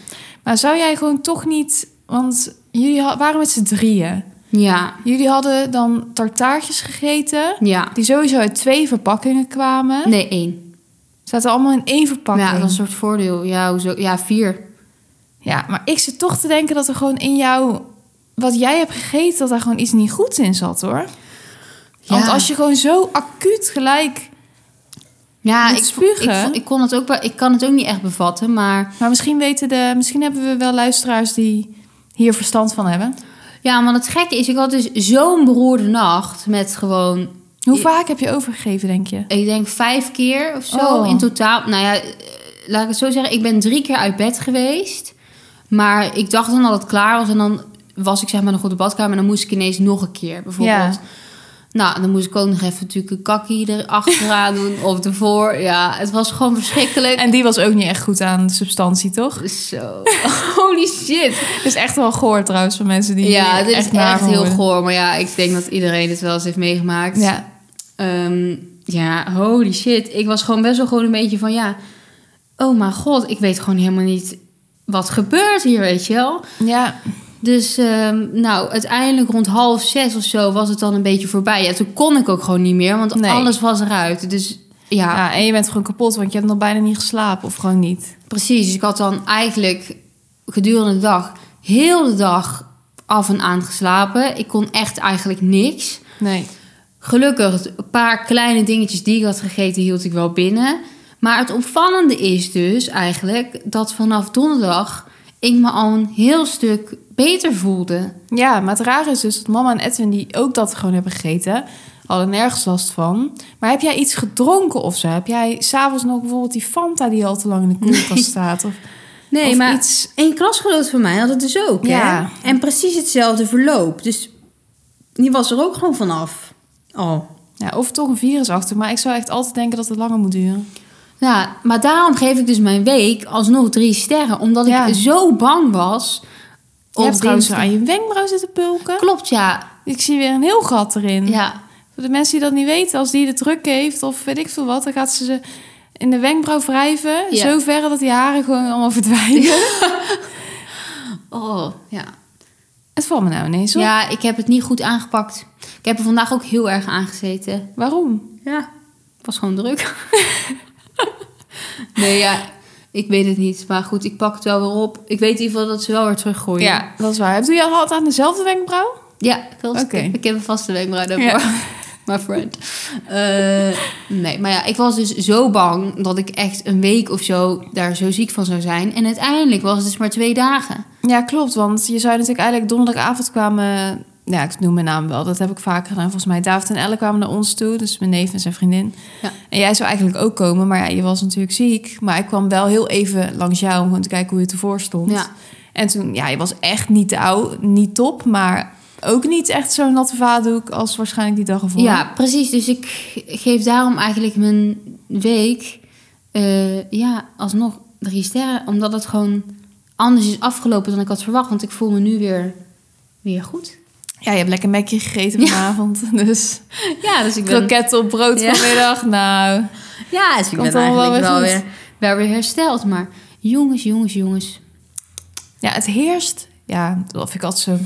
[SPEAKER 1] Maar zou jij gewoon toch niet... Want jullie ha- waren met z'n drieën.
[SPEAKER 2] Ja,
[SPEAKER 1] Jullie hadden dan tartaartjes gegeten...
[SPEAKER 2] ja.
[SPEAKER 1] die sowieso uit twee verpakkingen kwamen.
[SPEAKER 2] Nee, één.
[SPEAKER 1] Zaten allemaal in één verpakking.
[SPEAKER 2] Ja, dat is een soort voordeel. Ja, hoezo? ja vier.
[SPEAKER 1] Ja, maar ik zit toch te denken dat er gewoon in jou... wat jij hebt gegeten, dat daar gewoon iets niet goeds in zat, hoor. Want
[SPEAKER 2] Ja.
[SPEAKER 1] als je gewoon zo acuut gelijk...
[SPEAKER 2] Ja,
[SPEAKER 1] Met
[SPEAKER 2] ik,
[SPEAKER 1] spugen?
[SPEAKER 2] ik, ik, kon het ook, wel- ik kan het ook niet echt bevatten, maar...
[SPEAKER 1] Maar misschien, weten de, misschien hebben we wel luisteraars die hier verstand van hebben.
[SPEAKER 2] Ja, want het gekke is, ik had dus zo'n beroerde nacht met gewoon
[SPEAKER 1] Hoe
[SPEAKER 2] Ja.
[SPEAKER 1] vaak heb je overgegeven, denk je?
[SPEAKER 2] Ik denk vijf keer of zo
[SPEAKER 1] Oh.
[SPEAKER 2] in totaal. Nou ja, eh, laat ik het zo zeggen. Ik ben drie keer uit bed geweest. Maar ik dacht dan dat het klaar was. En dan was ik zeg maar nog op de badkamer. En dan moest ik ineens nog een keer bijvoorbeeld.
[SPEAKER 1] Ja.
[SPEAKER 2] Nou, dan moest ik ook nog even natuurlijk een kakkie erachteraan doen. Of ervoor. Ja, het was gewoon verschrikkelijk.
[SPEAKER 1] En die was ook niet echt goed aan substantie, toch?
[SPEAKER 2] Zo. Holy shit.
[SPEAKER 1] Het is echt wel goor trouwens van mensen die
[SPEAKER 2] ja,
[SPEAKER 1] hier
[SPEAKER 2] dit is
[SPEAKER 1] naar
[SPEAKER 2] echt
[SPEAKER 1] van
[SPEAKER 2] heel
[SPEAKER 1] worden.
[SPEAKER 2] goor. Maar ja, ik denk dat iedereen het wel eens heeft meegemaakt.
[SPEAKER 1] Ja,
[SPEAKER 2] Ehm, ja, holy shit. Ik was gewoon best wel gewoon een beetje van ja. Oh mijn god, ik weet gewoon helemaal niet wat gebeurt hier, weet je wel.
[SPEAKER 1] ja.
[SPEAKER 2] Dus ehm, nou, uiteindelijk rond half zes of zo was het dan een beetje voorbij. Ja, toen kon ik ook gewoon niet meer, want
[SPEAKER 1] Nee.
[SPEAKER 2] alles was eruit. Dus ja,
[SPEAKER 1] Ja, en je bent gewoon kapot, want je hebt nog bijna niet geslapen of gewoon niet.
[SPEAKER 2] precies. Dus ik had dan eigenlijk gedurende de dag, heel de dag af en aan geslapen. Ik kon echt eigenlijk niks.
[SPEAKER 1] Nee.
[SPEAKER 2] Gelukkig, een paar kleine dingetjes die ik had gegeten, hield ik wel binnen. Maar het opvallende is dus eigenlijk dat vanaf donderdag ik me al een heel stuk beter voelde.
[SPEAKER 1] Ja, maar het rare is dus dat mama en Edwin, die ook dat gewoon hebben gegeten, hadden nergens last van. Maar heb jij iets gedronken of zo? Heb jij s'avonds nog bijvoorbeeld die Fanta die al te lang in de koelkast staat? Of,
[SPEAKER 2] Nee,
[SPEAKER 1] of
[SPEAKER 2] maar
[SPEAKER 1] iets...
[SPEAKER 2] een klasgenoot van mij had het dus ook.
[SPEAKER 1] Ja.
[SPEAKER 2] Hè? En precies hetzelfde verloop. Dus die was er ook gewoon vanaf. Oh.
[SPEAKER 1] Ja, of toch een virus achter, maar ik zou echt altijd denken dat het langer moet duren.
[SPEAKER 2] Ja, maar daarom geef ik dus mijn week alsnog drie sterren. Omdat
[SPEAKER 1] Ja.
[SPEAKER 2] ik zo bang was.
[SPEAKER 1] Je hebt trouwens
[SPEAKER 2] dinsdag.
[SPEAKER 1] aan je wenkbrauw zitten pulken.
[SPEAKER 2] Klopt, ja.
[SPEAKER 1] Ik zie weer een heel gat erin.
[SPEAKER 2] ja.
[SPEAKER 1] Voor de mensen die dat niet weten, als die de druk heeft of weet ik veel wat, dan gaat ze ze in de wenkbrauw wrijven.
[SPEAKER 2] Ja.
[SPEAKER 1] Zover dat die haren gewoon allemaal verdwijnen.
[SPEAKER 2] Oh, ja.
[SPEAKER 1] Het valt me nou ineens op.
[SPEAKER 2] Ja, ik heb het niet goed aangepakt. Ik heb er vandaag ook heel erg aan gezeten.
[SPEAKER 1] Waarom?
[SPEAKER 2] Ja. Was gewoon druk. nee, ja. Ik weet het niet. Maar goed, ik pak het wel weer op. Ik weet in ieder geval dat ze wel weer teruggooien.
[SPEAKER 1] Ja, dat is waar. Heb je al altijd aan dezelfde wenkbrauw?
[SPEAKER 2] Ja, ik, wil-
[SPEAKER 1] Oké.
[SPEAKER 2] ik heb een vaste wenkbrauw daarvoor. My friend. Eh, nee, maar ja, ik was dus zo bang dat ik echt een week of zo daar zo ziek van zou zijn. En uiteindelijk was het dus maar twee dagen.
[SPEAKER 1] Ja, klopt. Want je zou natuurlijk eigenlijk donderdagavond kwamen... Ja, ik noem mijn naam wel. Dat heb ik vaker gedaan. Volgens mij David en Elle kwamen naar ons toe. Dus mijn neef en zijn vriendin.
[SPEAKER 2] Ja.
[SPEAKER 1] En jij zou eigenlijk ook komen. Maar ja, je was natuurlijk ziek. Maar ik kwam wel heel even langs jou om gewoon te kijken hoe je ervoor stond.
[SPEAKER 2] Ja.
[SPEAKER 1] En toen, ja, je was echt niet oud, niet top. Maar ook niet echt zo'n natte vaatdoek als waarschijnlijk die dag ervoor.
[SPEAKER 2] Ja, precies. Dus ik geef daarom eigenlijk mijn week, eh, ja, alsnog drie sterren. Omdat het gewoon anders is afgelopen dan ik had verwacht. Want ik voel me nu weer, weer goed.
[SPEAKER 1] Ja, je hebt lekker mekje gegeten vanavond. Dus
[SPEAKER 2] Ja, dus ik
[SPEAKER 1] kroketten op brood
[SPEAKER 2] Ja.
[SPEAKER 1] vanmiddag. Nou,
[SPEAKER 2] Ja, dus ik
[SPEAKER 1] Komt
[SPEAKER 2] ben
[SPEAKER 1] allemaal
[SPEAKER 2] eigenlijk wel
[SPEAKER 1] wel weer
[SPEAKER 2] weer, wel weer hersteld. Maar jongens, jongens, jongens.
[SPEAKER 1] Ja, het heerst. Ja, dat vind ik altijd zo...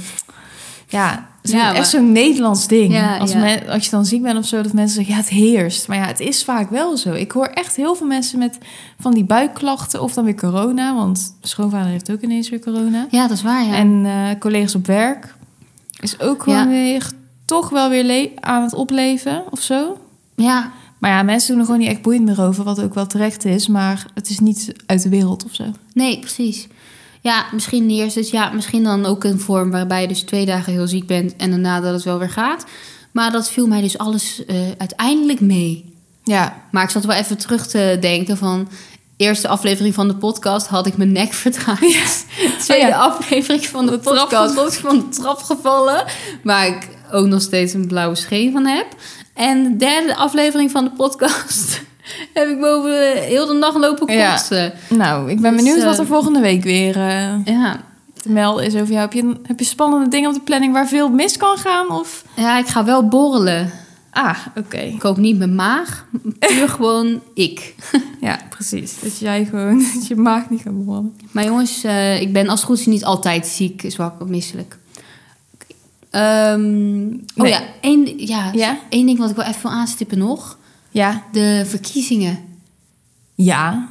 [SPEAKER 1] Ja, zo,
[SPEAKER 2] Ja, maar-
[SPEAKER 1] echt zo'n Nederlands ding.
[SPEAKER 2] Ja,
[SPEAKER 1] als,
[SPEAKER 2] ja.
[SPEAKER 1] men- als je dan ziek bent of zo, dat mensen zeggen, ja, het heerst. Maar ja, het is vaak wel zo. Ik hoor echt heel veel mensen met van die buikklachten of dan weer corona. Want mijn schoonvader heeft ook ineens weer corona.
[SPEAKER 2] Ja, dat is waar, ja.
[SPEAKER 1] En eh, collega's op werk is ook gewoon
[SPEAKER 2] Ja.
[SPEAKER 1] weer toch wel weer le- aan het opleven of zo.
[SPEAKER 2] ja.
[SPEAKER 1] Maar ja, mensen doen er gewoon niet echt boeiend meer over, wat ook wel terecht is. Maar het is niet uit de wereld of zo.
[SPEAKER 2] Nee, precies. Ja, misschien eerst dus ja, misschien dan ook een vorm waarbij je dus twee dagen heel ziek bent en daarna dat het wel weer gaat. Maar dat viel mij dus alles eh, uiteindelijk mee.
[SPEAKER 1] Ja,
[SPEAKER 2] Maar ik zat wel even terug te denken van eerste aflevering van de podcast had ik mijn nek verdraaid. Tweede
[SPEAKER 1] Oh ja.
[SPEAKER 2] aflevering van de, podcast was ik van de trap gevallen, waar ik ook nog steeds een blauwe scheen van heb. En de derde aflevering van de podcast heb ik boven heel de nacht lopen
[SPEAKER 1] Ja.
[SPEAKER 2] kotsen.
[SPEAKER 1] Nou, ik ben
[SPEAKER 2] Dus,
[SPEAKER 1] benieuwd wat
[SPEAKER 2] eh,
[SPEAKER 1] er volgende week weer eh,
[SPEAKER 2] ja.
[SPEAKER 1] te melden is over jou. Heb je, heb je spannende dingen op de planning waar veel mis kan gaan? Of...
[SPEAKER 2] Ja, ik ga wel borrelen.
[SPEAKER 1] Ah, oké.
[SPEAKER 2] Ik koop niet mijn maag, puur gewoon ik.
[SPEAKER 1] Ja, precies. Dat jij gewoon dat je maag niet gaat bevallen.
[SPEAKER 2] Maar jongens, eh, ik ben als het goed is niet altijd ziek, zwak of misselijk. Ehm, Oh
[SPEAKER 1] Nee.
[SPEAKER 2] ja één, ja,
[SPEAKER 1] Ja?
[SPEAKER 2] één ding wat ik wel even wil aanstippen nog.
[SPEAKER 1] Ja.
[SPEAKER 2] De verkiezingen.
[SPEAKER 1] Ja.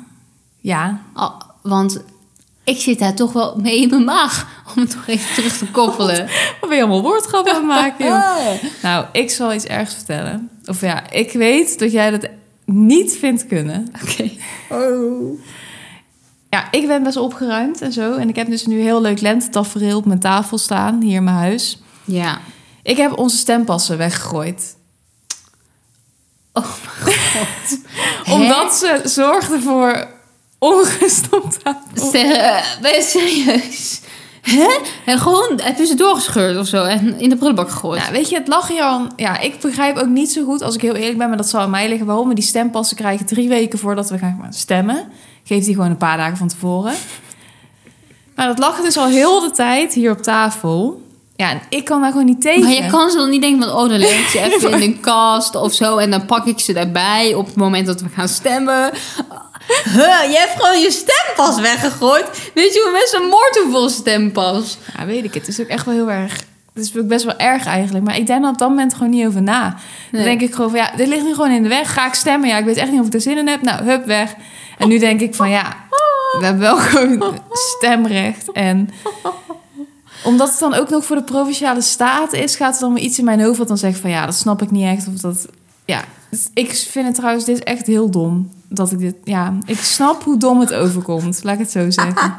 [SPEAKER 1] Ja.
[SPEAKER 2] Al- want ik zit daar toch wel mee in mijn maag, om het toch even terug te koppelen.
[SPEAKER 1] Wat ben je allemaal woordgrappen aan het maken, joh?
[SPEAKER 2] Ah.
[SPEAKER 1] Nou, ik zal iets ergs vertellen. Of ja, ik weet dat jij dat niet vindt kunnen.
[SPEAKER 2] Oké.
[SPEAKER 1] Ja, ik ben best opgeruimd en zo. En ik heb dus nu een heel leuk lentetafereel op mijn tafel staan, hier in mijn huis.
[SPEAKER 2] Ja.
[SPEAKER 1] Ik heb onze stempassen weggegooid.
[SPEAKER 2] Oh mijn god.
[SPEAKER 1] Omdat ze zorgden voor onrust op
[SPEAKER 2] Hè?
[SPEAKER 1] tafel.
[SPEAKER 2] Ser- eh, ben je serieus? Hè? En gewoon het tussendoor gescheurd of zo en in de prullenbak gegooid.
[SPEAKER 1] Nou, weet je, het lachen Jan. Ja, ik begrijp ook niet zo goed, als ik heel eerlijk ben, maar dat zal aan mij liggen. Waarom we die stempassen krijgen drie weken voordat we gaan stemmen. Geef die gewoon een paar dagen van tevoren. Maar dat lachen dus al heel de tijd hier op tafel. Ja, en ik kan daar gewoon niet tegen.
[SPEAKER 2] Maar je kan ze dan niet denken van, oh, dan leg ik ze even in een kast of zo. En dan pak ik ze daarbij op het moment dat we gaan stemmen. Huh, je hebt gewoon je stempas weggegooid. Weet je hoe mensen moord doen voor een stempas?
[SPEAKER 1] Ja, weet ik. Het is ook echt wel heel erg. Het is ook best wel erg eigenlijk. Maar ik denk er op dat moment gewoon niet over na. Dan
[SPEAKER 2] Nee.
[SPEAKER 1] denk ik gewoon van ja, dit ligt nu gewoon in de weg. Ga ik stemmen? Ja, ik weet echt niet of ik er zin in heb. Nou, hup, weg. En nu denk ik van ja, we hebben wel gewoon stemrecht. En omdat het dan ook nog voor de provinciale staat is, gaat er dan weer iets in mijn hoofd wat dan zegt van ja, dat snap ik niet echt. Of dat, ja. Dus Ik vind het trouwens, dit is echt heel dom. Dat ik dit, ja, ik snap hoe dom het overkomt, laat ik het zo zeggen.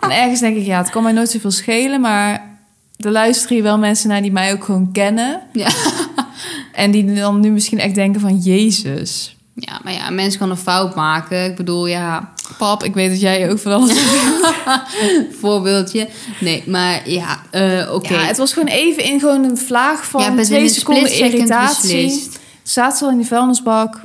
[SPEAKER 1] En ergens denk ik, ja, het kan mij nooit zoveel schelen, maar er luisteren hier wel mensen naar die mij ook gewoon kennen.
[SPEAKER 2] Ja.
[SPEAKER 1] En die dan nu misschien echt denken van, jezus,
[SPEAKER 2] Ja, maar ja, een mens kan een fout maken. Ik bedoel, ja,
[SPEAKER 1] pap, ik weet dat jij je ook van alles
[SPEAKER 2] voorbeeldje. Nee, maar ja, eh, oké.
[SPEAKER 1] Ja, het was gewoon even in gewoon een vlaag van
[SPEAKER 2] Ja, best in
[SPEAKER 1] twee
[SPEAKER 2] een
[SPEAKER 1] seconden
[SPEAKER 2] split second
[SPEAKER 1] irritatie.
[SPEAKER 2] beslist.
[SPEAKER 1] Zaten ze al in die vuilnisbak.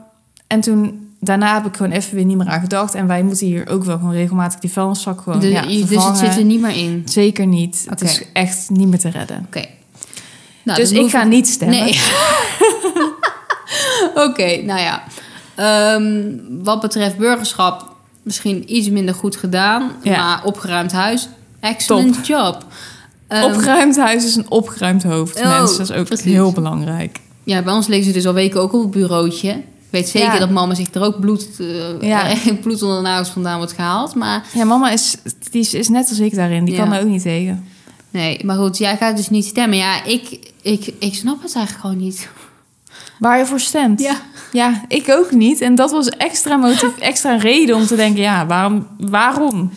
[SPEAKER 1] En toen, daarna heb ik gewoon even weer niet meer aan gedacht. En wij moeten hier ook wel gewoon regelmatig die vuilniszak gewoon
[SPEAKER 2] Dus-
[SPEAKER 1] ja,
[SPEAKER 2] je- dus
[SPEAKER 1] vervangen.
[SPEAKER 2] het zit er niet meer in.
[SPEAKER 1] Zeker niet. Het
[SPEAKER 2] Oké.
[SPEAKER 1] is echt niet meer te redden.
[SPEAKER 2] Oké. Nou,
[SPEAKER 1] dus
[SPEAKER 2] dat
[SPEAKER 1] ik
[SPEAKER 2] hoeft-
[SPEAKER 1] ga niet stemmen.
[SPEAKER 2] Nee. Oké, nou ja. Ehm, wat betreft burgerschap, misschien iets minder goed gedaan.
[SPEAKER 1] Ja.
[SPEAKER 2] Maar opgeruimd huis, excellent job. Ehm,
[SPEAKER 1] opgeruimd huis is een opgeruimd hoofd.
[SPEAKER 2] Oh,
[SPEAKER 1] mensen, dat is ook
[SPEAKER 2] precies.
[SPEAKER 1] heel belangrijk.
[SPEAKER 2] ja, bij ons liggen ze dus al weken ook op het bureautje. Ik weet zeker
[SPEAKER 1] Ja.
[SPEAKER 2] dat mama zich er ook bloed, eh,
[SPEAKER 1] Ja.
[SPEAKER 2] bloed onder de nagels vandaan wordt gehaald. Maar
[SPEAKER 1] Ja, mama is, die is, is net als ik daarin. Die
[SPEAKER 2] Ja.
[SPEAKER 1] kan daar ook niet tegen.
[SPEAKER 2] nee, maar goed, jij gaat dus niet stemmen. Ja, ik, ik, ik snap het eigenlijk gewoon niet.
[SPEAKER 1] Waar je voor stemt. Ja, ik ook niet. En dat was extra motief, extra reden om te denken, ja, waarom? waarom?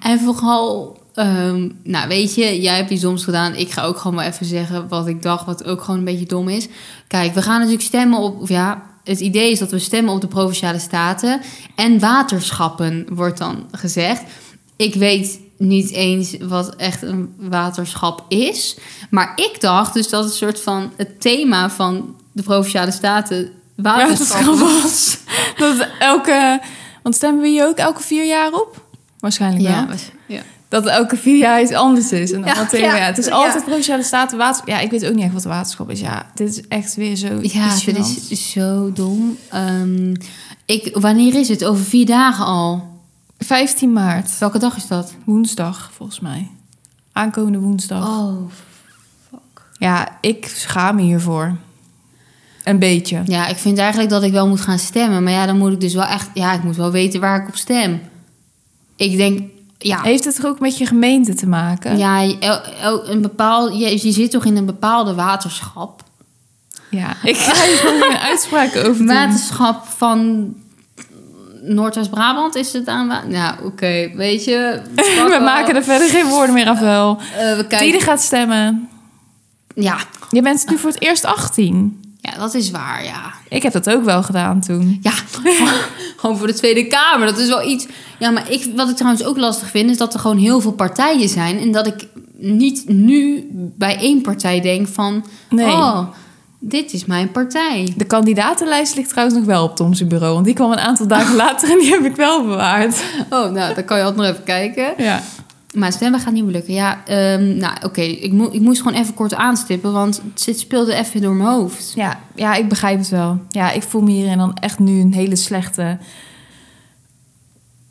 [SPEAKER 2] En vooral, ehm, nou weet je, jij hebt die soms gedaan. Ik ga ook gewoon maar even zeggen wat ik dacht, wat ook gewoon een beetje dom is. Kijk, we gaan natuurlijk stemmen op, of ja, het idee is dat we stemmen op de provinciale staten. En waterschappen wordt dan gezegd. Ik weet niet eens wat echt een waterschap is. Maar ik dacht dus dat het soort van het thema van de provinciale staten waterschappen
[SPEAKER 1] Waterschap was. Dat elke, want stemmen we hier ook elke vier jaar op? Waarschijnlijk
[SPEAKER 2] Ja,
[SPEAKER 1] wel.
[SPEAKER 2] ja.
[SPEAKER 1] Dat elke vier jaar iets anders is. En dan
[SPEAKER 2] Ja,
[SPEAKER 1] wat thema.
[SPEAKER 2] ja,
[SPEAKER 1] Ja, het is
[SPEAKER 2] ja.
[SPEAKER 1] altijd provinciale staten waterschap. Ja, ik weet ook niet echt wat waterschap is. Ja, dit is echt weer zo.
[SPEAKER 2] Ja,
[SPEAKER 1] iets
[SPEAKER 2] dit
[SPEAKER 1] gênants.
[SPEAKER 2] is zo dom. Ehm, ik, wanneer is het? Over vier dagen al.
[SPEAKER 1] 15 maart,
[SPEAKER 2] Welke dag is dat?
[SPEAKER 1] woensdag volgens mij. Aankomende woensdag.
[SPEAKER 2] Oh.
[SPEAKER 1] Ja, ik schaam me hiervoor. Een beetje.
[SPEAKER 2] Ja, ik vind eigenlijk dat ik wel moet gaan stemmen. Maar ja, dan moet ik dus wel echt... Ja, ik moet wel weten waar ik op stem. Ik denk... Ja,
[SPEAKER 1] Heeft het er ook met je gemeente te maken?
[SPEAKER 2] ja el- el- een bepaald, je, je zit toch in een bepaalde waterschap?
[SPEAKER 1] Ja, ik ga hier gewoon geen uitspraak over doen.
[SPEAKER 2] Waterschap van Noordwest-Brabant is het aan... wa- Nou, oké, weet je...
[SPEAKER 1] We maken er verder geen woorden meer aan vuil.
[SPEAKER 2] Eh, we
[SPEAKER 1] Die er
[SPEAKER 2] kijken...
[SPEAKER 1] gaat stemmen.
[SPEAKER 2] Ja.
[SPEAKER 1] Je bent nu voor het eerst 18.
[SPEAKER 2] ja, dat is waar, ja.
[SPEAKER 1] Ik heb dat ook wel gedaan toen.
[SPEAKER 2] Ja, gewoon voor de Tweede Kamer. Dat is wel iets. Ja, maar ik, wat ik trouwens ook lastig vind, is dat er gewoon heel veel partijen zijn. En dat ik niet nu bij één partij denk van.
[SPEAKER 1] Nee.
[SPEAKER 2] Oh, dit is mijn partij.
[SPEAKER 1] De kandidatenlijst ligt trouwens nog wel op Tom's bureau. Want die kwam een aantal dagen later en die heb ik wel bewaard.
[SPEAKER 2] Oh, nou, dan kan je altijd nog even kijken.
[SPEAKER 1] Ja.
[SPEAKER 2] Maar stemmen gaat niet meer lukken. Ja, ehm, nou oké. Ik, mo- ik moest gewoon even kort aanstippen, want dit speelde even door mijn hoofd.
[SPEAKER 1] Ja, ja, ik begrijp het wel. Ja, ik voel me hier en dan echt nu een hele slechte...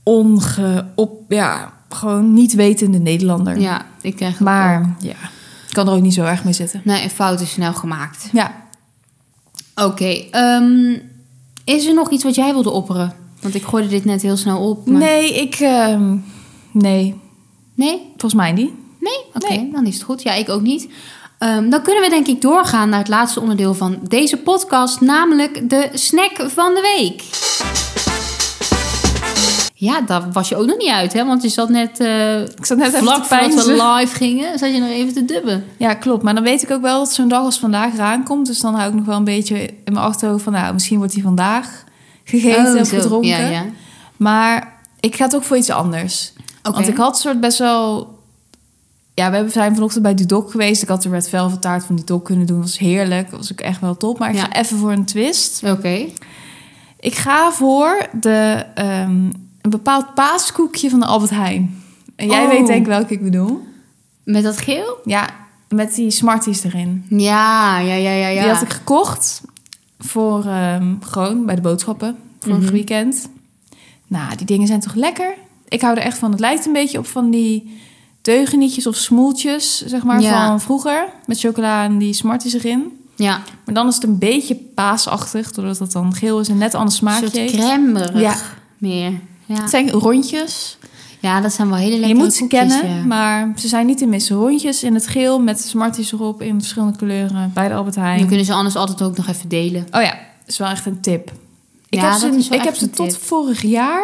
[SPEAKER 1] Onge... Op, ja, gewoon niet wetende Nederlander.
[SPEAKER 2] Ja, ik krijg dat ook.
[SPEAKER 1] Maar ja, ik kan er ook niet zo erg mee zitten.
[SPEAKER 2] Nee, een fout is snel gemaakt.
[SPEAKER 1] Ja,
[SPEAKER 2] Oké, ehm, is er nog iets wat jij wilde opperen? Want ik gooide dit net heel snel op. maar-
[SPEAKER 1] nee, ik... ehm, nee,
[SPEAKER 2] Nee?
[SPEAKER 1] volgens mij niet.
[SPEAKER 2] Nee? Oké,
[SPEAKER 1] Nee.
[SPEAKER 2] dan is het goed. Ja, ik ook niet. Ehm, dan kunnen we denk ik doorgaan naar het laatste onderdeel van deze podcast, namelijk de snack van de week. Ja, daar was je ook nog niet uit, hè? Want je zat net, eh
[SPEAKER 1] Ik zat net even
[SPEAKER 2] vlak
[SPEAKER 1] te
[SPEAKER 2] voordat
[SPEAKER 1] peinzen.
[SPEAKER 2] we live gingen, zat je nog even te dubben.
[SPEAKER 1] Ja, klopt. Maar dan weet ik ook wel dat zo'n dag als vandaag eraan komt. Dus dan hou ik nog wel een beetje in mijn achterhoofd van... nou, misschien wordt die vandaag gegeten
[SPEAKER 2] Oh,
[SPEAKER 1] of
[SPEAKER 2] zo.
[SPEAKER 1] gedronken.
[SPEAKER 2] Ja, ja.
[SPEAKER 1] Maar ik ga toch voor iets anders.
[SPEAKER 2] Oké.
[SPEAKER 1] Want ik had soort best wel... Ja, we hebben- zijn vanochtend bij Dudok geweest. Ik had de red velvet taart van Dudok kunnen doen. Dat was heerlijk. Dat was ook echt wel top. Maar ik
[SPEAKER 2] Ja.
[SPEAKER 1] ga even voor een twist.
[SPEAKER 2] Oké.
[SPEAKER 1] Ik ga voor de, ehm, een bepaald paaskoekje van de Albert Heijn. En jij
[SPEAKER 2] Oh.
[SPEAKER 1] weet denk ik welke ik bedoel.
[SPEAKER 2] Met dat geel?
[SPEAKER 1] Ja, met die Smarties erin.
[SPEAKER 2] Ja, ja, ja, ja. ja.
[SPEAKER 1] Die had ik
[SPEAKER 2] Mhm.
[SPEAKER 1] gekocht voor ehm, gewoon bij de boodschappen voor het weekend. Nou, die dingen zijn toch lekker? Ik hou er echt van. Het lijkt een beetje op van die deugenietjes of smoeltjes, zeg maar,
[SPEAKER 2] Ja.
[SPEAKER 1] van vroeger. Met chocola en die Smarties erin.
[SPEAKER 2] Ja,
[SPEAKER 1] Maar dan is het een beetje paasachtig, doordat het dan geel is en net ander
[SPEAKER 2] een
[SPEAKER 1] smaakje
[SPEAKER 2] soort
[SPEAKER 1] heeft.
[SPEAKER 2] crèmerig
[SPEAKER 1] Ja.
[SPEAKER 2] meer. Ja.
[SPEAKER 1] Het zijn rondjes.
[SPEAKER 2] ja, dat zijn wel hele lekkere
[SPEAKER 1] je moet ze
[SPEAKER 2] koekjes,
[SPEAKER 1] kennen,
[SPEAKER 2] ja.
[SPEAKER 1] maar ze zijn niet te missen. Rondjes in het geel met Smarties erop in verschillende kleuren bij de Albert Heijn.
[SPEAKER 2] Dan kunnen ze anders altijd ook nog even delen.
[SPEAKER 1] Oh ja, dat is wel echt een tip. Ik
[SPEAKER 2] Ja,
[SPEAKER 1] heb ze,
[SPEAKER 2] dat is wel
[SPEAKER 1] ik heb
[SPEAKER 2] echt
[SPEAKER 1] ze
[SPEAKER 2] een
[SPEAKER 1] tot
[SPEAKER 2] tip.
[SPEAKER 1] vorig jaar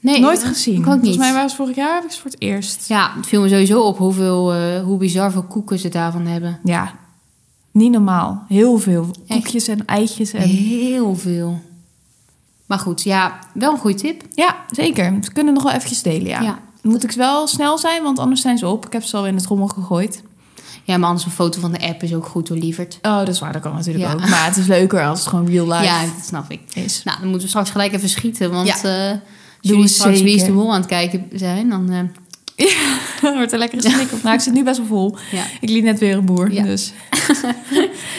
[SPEAKER 2] Nee,
[SPEAKER 1] nooit
[SPEAKER 2] ik-
[SPEAKER 1] gezien.
[SPEAKER 2] Ik ook
[SPEAKER 1] Volgens
[SPEAKER 2] niet.
[SPEAKER 1] mij waren ze vorig jaar heb ik ze voor het eerst. Ja.
[SPEAKER 2] Ja, het viel me sowieso op hoeveel, eh, hoe bizar veel koeken ze daarvan hebben.
[SPEAKER 1] niet normaal. Heel veel.
[SPEAKER 2] Echt?
[SPEAKER 1] Koekjes en eitjes. En...
[SPEAKER 2] Heel veel. Maar goed, ja, wel een goede tip.
[SPEAKER 1] Ja, zeker. Ze kunnen nog wel eventjes delen, ja.
[SPEAKER 2] Ja.
[SPEAKER 1] Moet ik wel snel zijn, want anders zijn ze op. Ik heb ze al in de trommel gegooid.
[SPEAKER 2] Ja, maar anders een foto van de app is ook goed hoor, lieverd.
[SPEAKER 1] Oh, dat is waar. Dat kan natuurlijk
[SPEAKER 2] Ja.
[SPEAKER 1] ook. Maar het is leuker als het gewoon real life
[SPEAKER 2] Ja, dat snap ik.
[SPEAKER 1] is.
[SPEAKER 2] Nou, dan moeten we straks gelijk even schieten. Want eh als
[SPEAKER 1] Doe
[SPEAKER 2] jullie
[SPEAKER 1] het
[SPEAKER 2] straks Wie is de
[SPEAKER 1] zeker.
[SPEAKER 2] Mol aan het kijken zijn, dan... eh,
[SPEAKER 1] Wordt er lekker een snik op. Nou, ik zit nu best wel vol.
[SPEAKER 2] ja.
[SPEAKER 1] Ik liet net weer een boer,
[SPEAKER 2] Ja.
[SPEAKER 1] dus.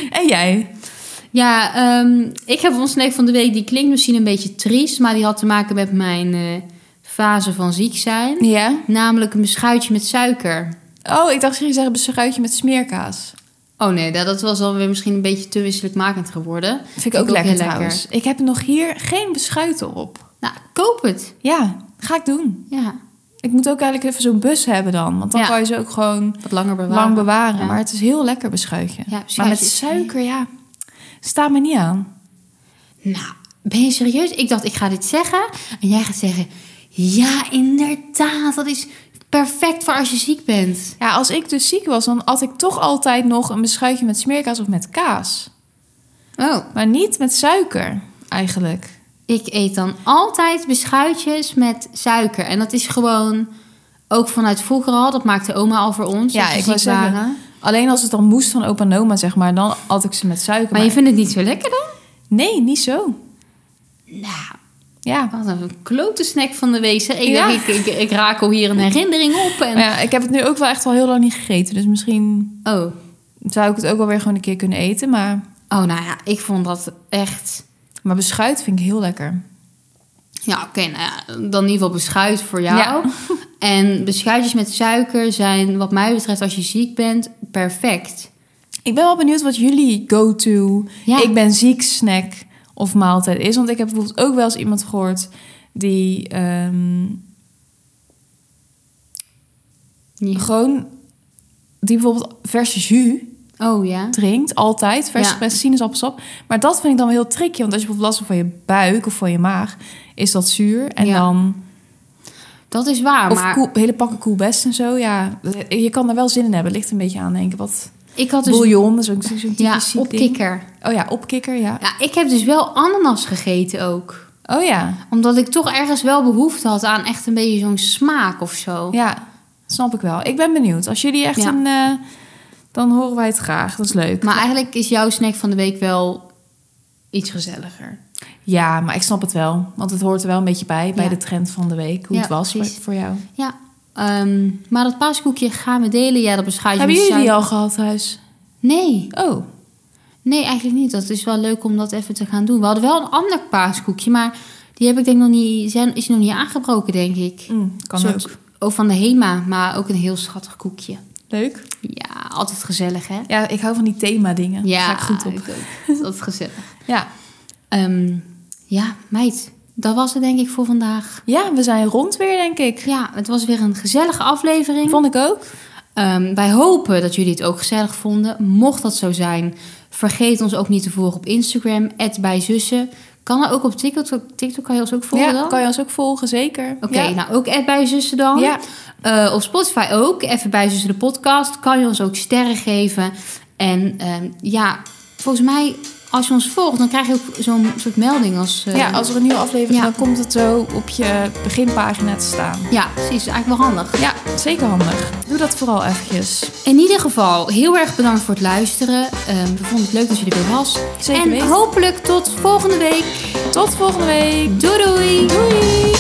[SPEAKER 1] en jij?
[SPEAKER 2] Ja, ehm, ik heb ons snack van de week. Die klinkt misschien een beetje triest, maar die had te maken met mijn eh, fase van ziek zijn.
[SPEAKER 1] Ja?
[SPEAKER 2] Namelijk een beschuitje met suiker.
[SPEAKER 1] Oh, ik dacht, je zeggen beschuitje met smeerkaas.
[SPEAKER 2] Oh nee, dat- dat was alweer misschien een beetje te wisselmakend geworden.
[SPEAKER 1] Vind ik ook,
[SPEAKER 2] ook
[SPEAKER 1] lekker
[SPEAKER 2] heel lekker.
[SPEAKER 1] trouwens. Ik heb nog hier geen beschuiten op.
[SPEAKER 2] Nou, koop het.
[SPEAKER 1] Ja, ga ik doen.
[SPEAKER 2] Ja,
[SPEAKER 1] Ik moet ook eigenlijk even zo'n bus hebben dan. Want dan
[SPEAKER 2] Ja.
[SPEAKER 1] kan je ze ook gewoon
[SPEAKER 2] wat langer bewaren.
[SPEAKER 1] lang bewaren.
[SPEAKER 2] Ja.
[SPEAKER 1] Maar het is heel lekker beschuitje.
[SPEAKER 2] Ja,
[SPEAKER 1] maar met
[SPEAKER 2] beschuitje is-
[SPEAKER 1] suiker, ja, staat me niet aan.
[SPEAKER 2] Nou, ben je serieus? Ik dacht, ik ga dit zeggen. En jij gaat zeggen, ja, inderdaad. Dat is perfect voor als je ziek bent.
[SPEAKER 1] Ja, als ik dus ziek was, dan at ik toch altijd nog een beschuitje met smeerkaas of met kaas.
[SPEAKER 2] Oh.
[SPEAKER 1] Maar niet met suiker, eigenlijk.
[SPEAKER 2] Ik eet dan altijd beschuitjes met suiker. En dat is gewoon ook vanuit vroeger al. Dat maakte oma al voor ons.
[SPEAKER 1] Ja,
[SPEAKER 2] als we
[SPEAKER 1] ik wou
[SPEAKER 2] ziek
[SPEAKER 1] zeggen, Alleen als het dan moest van opa en oma, zeg maar, dan at ik ze met suiker.
[SPEAKER 2] Maar je
[SPEAKER 1] Maar
[SPEAKER 2] vindt het niet zo lekker dan?
[SPEAKER 1] Nee, niet zo.
[SPEAKER 2] Nou,
[SPEAKER 1] Ja.
[SPEAKER 2] wat een klote snack van de week. zeg. Ik,
[SPEAKER 1] Ja.
[SPEAKER 2] denk, ik, ik, ik raak al hier een herinnering op. En...
[SPEAKER 1] Maar ja, ik heb het nu ook wel echt al heel lang niet gegeten. Dus misschien
[SPEAKER 2] Oh.
[SPEAKER 1] zou ik het ook wel weer gewoon een keer kunnen eten. Maar,
[SPEAKER 2] oh, nou ja, ik vond dat echt...
[SPEAKER 1] maar beschuit vind ik heel lekker.
[SPEAKER 2] Ja, oké, nou ja, dan in ieder geval beschuit voor jou.
[SPEAKER 1] Ja.
[SPEAKER 2] En beschuitjes met suiker zijn, wat mij betreft, als je ziek bent, perfect.
[SPEAKER 1] Ik ben wel benieuwd wat jullie go-to,
[SPEAKER 2] Ja.
[SPEAKER 1] ik ben ziek snack of maaltijd is. Want ik heb bijvoorbeeld ook wel eens iemand gehoord die ehm,
[SPEAKER 2] Ja.
[SPEAKER 1] gewoon, die bijvoorbeeld verse jus
[SPEAKER 2] Oh ja.
[SPEAKER 1] drinkt, altijd, vers
[SPEAKER 2] Ja.
[SPEAKER 1] gepresst sinaasappelsap. Maar dat vind ik dan wel heel tricky, want als je bijvoorbeeld last hebt van je buik of van je maag, is dat zuur. En
[SPEAKER 2] Ja,
[SPEAKER 1] dan,
[SPEAKER 2] Dat is waar,
[SPEAKER 1] of
[SPEAKER 2] maar...
[SPEAKER 1] koel- hele pakken koelbest en zo, ja. Je kan er wel zin in hebben, ligt een beetje aan, denk ik. Wat
[SPEAKER 2] Ik had dus
[SPEAKER 1] bouillon, dat is ook zo'n typisch
[SPEAKER 2] ja,
[SPEAKER 1] ziek ding.
[SPEAKER 2] opkikker.
[SPEAKER 1] Oh ja, opkikker, ja.
[SPEAKER 2] Ja, ik heb dus wel ananas gegeten ook.
[SPEAKER 1] Oh ja,
[SPEAKER 2] Omdat ik toch ergens wel behoefte had aan echt een beetje zo'n smaak of zo.
[SPEAKER 1] ja, snap ik wel. Ik ben benieuwd. Als jullie echt
[SPEAKER 2] Ja.
[SPEAKER 1] een... eh, dan horen wij het graag, dat is leuk.
[SPEAKER 2] Maar eigenlijk is jouw snack van de week wel iets gezelliger.
[SPEAKER 1] Ja, maar ik snap het wel. Want het hoort er wel een beetje bij, bij
[SPEAKER 2] Ja.
[SPEAKER 1] de trend van de week. Hoe
[SPEAKER 2] Ja,
[SPEAKER 1] het was voor,
[SPEAKER 2] precies. Ah,
[SPEAKER 1] voor jou.
[SPEAKER 2] Ja, ehm, maar dat paaskoekje gaan we delen. Ja, dat beschuit je
[SPEAKER 1] Hebben
[SPEAKER 2] met
[SPEAKER 1] jullie die
[SPEAKER 2] suiker.
[SPEAKER 1] al gehad thuis?
[SPEAKER 2] Nee,
[SPEAKER 1] Oh,
[SPEAKER 2] nee, eigenlijk niet. Dat is wel leuk om dat even te gaan doen. We hadden wel een ander paaskoekje, maar die heb ik denk nog niet, zijn, is nog niet aangebroken, denk ik.
[SPEAKER 1] mm, kan
[SPEAKER 2] Een soort-
[SPEAKER 1] ook.
[SPEAKER 2] Ook van de Hema, maar ook een heel schattig koekje.
[SPEAKER 1] Leuk.
[SPEAKER 2] Ja, altijd gezellig, hè?
[SPEAKER 1] Ja, ik hou van die thema dingen. Ja. Daar ga ik goed op.
[SPEAKER 2] ik ook. Dat is gezellig.
[SPEAKER 1] Ja.
[SPEAKER 2] Ehm, ja, meid, dat was het denk ik voor vandaag.
[SPEAKER 1] ja, we zijn rond weer, denk ik.
[SPEAKER 2] Ja, het was weer een gezellige aflevering.
[SPEAKER 1] Vond ik ook.
[SPEAKER 2] Ehm, wij hopen dat jullie het ook gezellig vonden. Mocht dat zo zijn, vergeet ons ook niet te volgen op Instagram, bijzussen. Kan er ook op TikTok, TikTok kan je ons ook volgen
[SPEAKER 1] ja,
[SPEAKER 2] dan?
[SPEAKER 1] kan je ons ook volgen, zeker.
[SPEAKER 2] Oké,
[SPEAKER 1] ja.
[SPEAKER 2] nou ook bijzussen dan.
[SPEAKER 1] ja.
[SPEAKER 2] Eh, op Spotify ook. Even bij Zussen de podcast. Kan je ons ook sterren geven. En ehm, ja, volgens mij, als je ons volgt, dan krijg je ook zo'n soort melding als... eh,
[SPEAKER 1] ja, als er een nieuwe aflevering
[SPEAKER 2] Ja.
[SPEAKER 1] dan komt het zo op je beginpagina te staan.
[SPEAKER 2] ja, precies. Eigenlijk wel handig.
[SPEAKER 1] Ja, zeker handig. Doe dat vooral eventjes.
[SPEAKER 2] In ieder geval, heel erg bedankt voor het luisteren. Ehm, we vonden het leuk dat je er weer was.
[SPEAKER 1] Zeker
[SPEAKER 2] en
[SPEAKER 1] weten.
[SPEAKER 2] hopelijk tot volgende week.
[SPEAKER 1] Tot volgende week.
[SPEAKER 2] Doei doei!
[SPEAKER 1] Doei.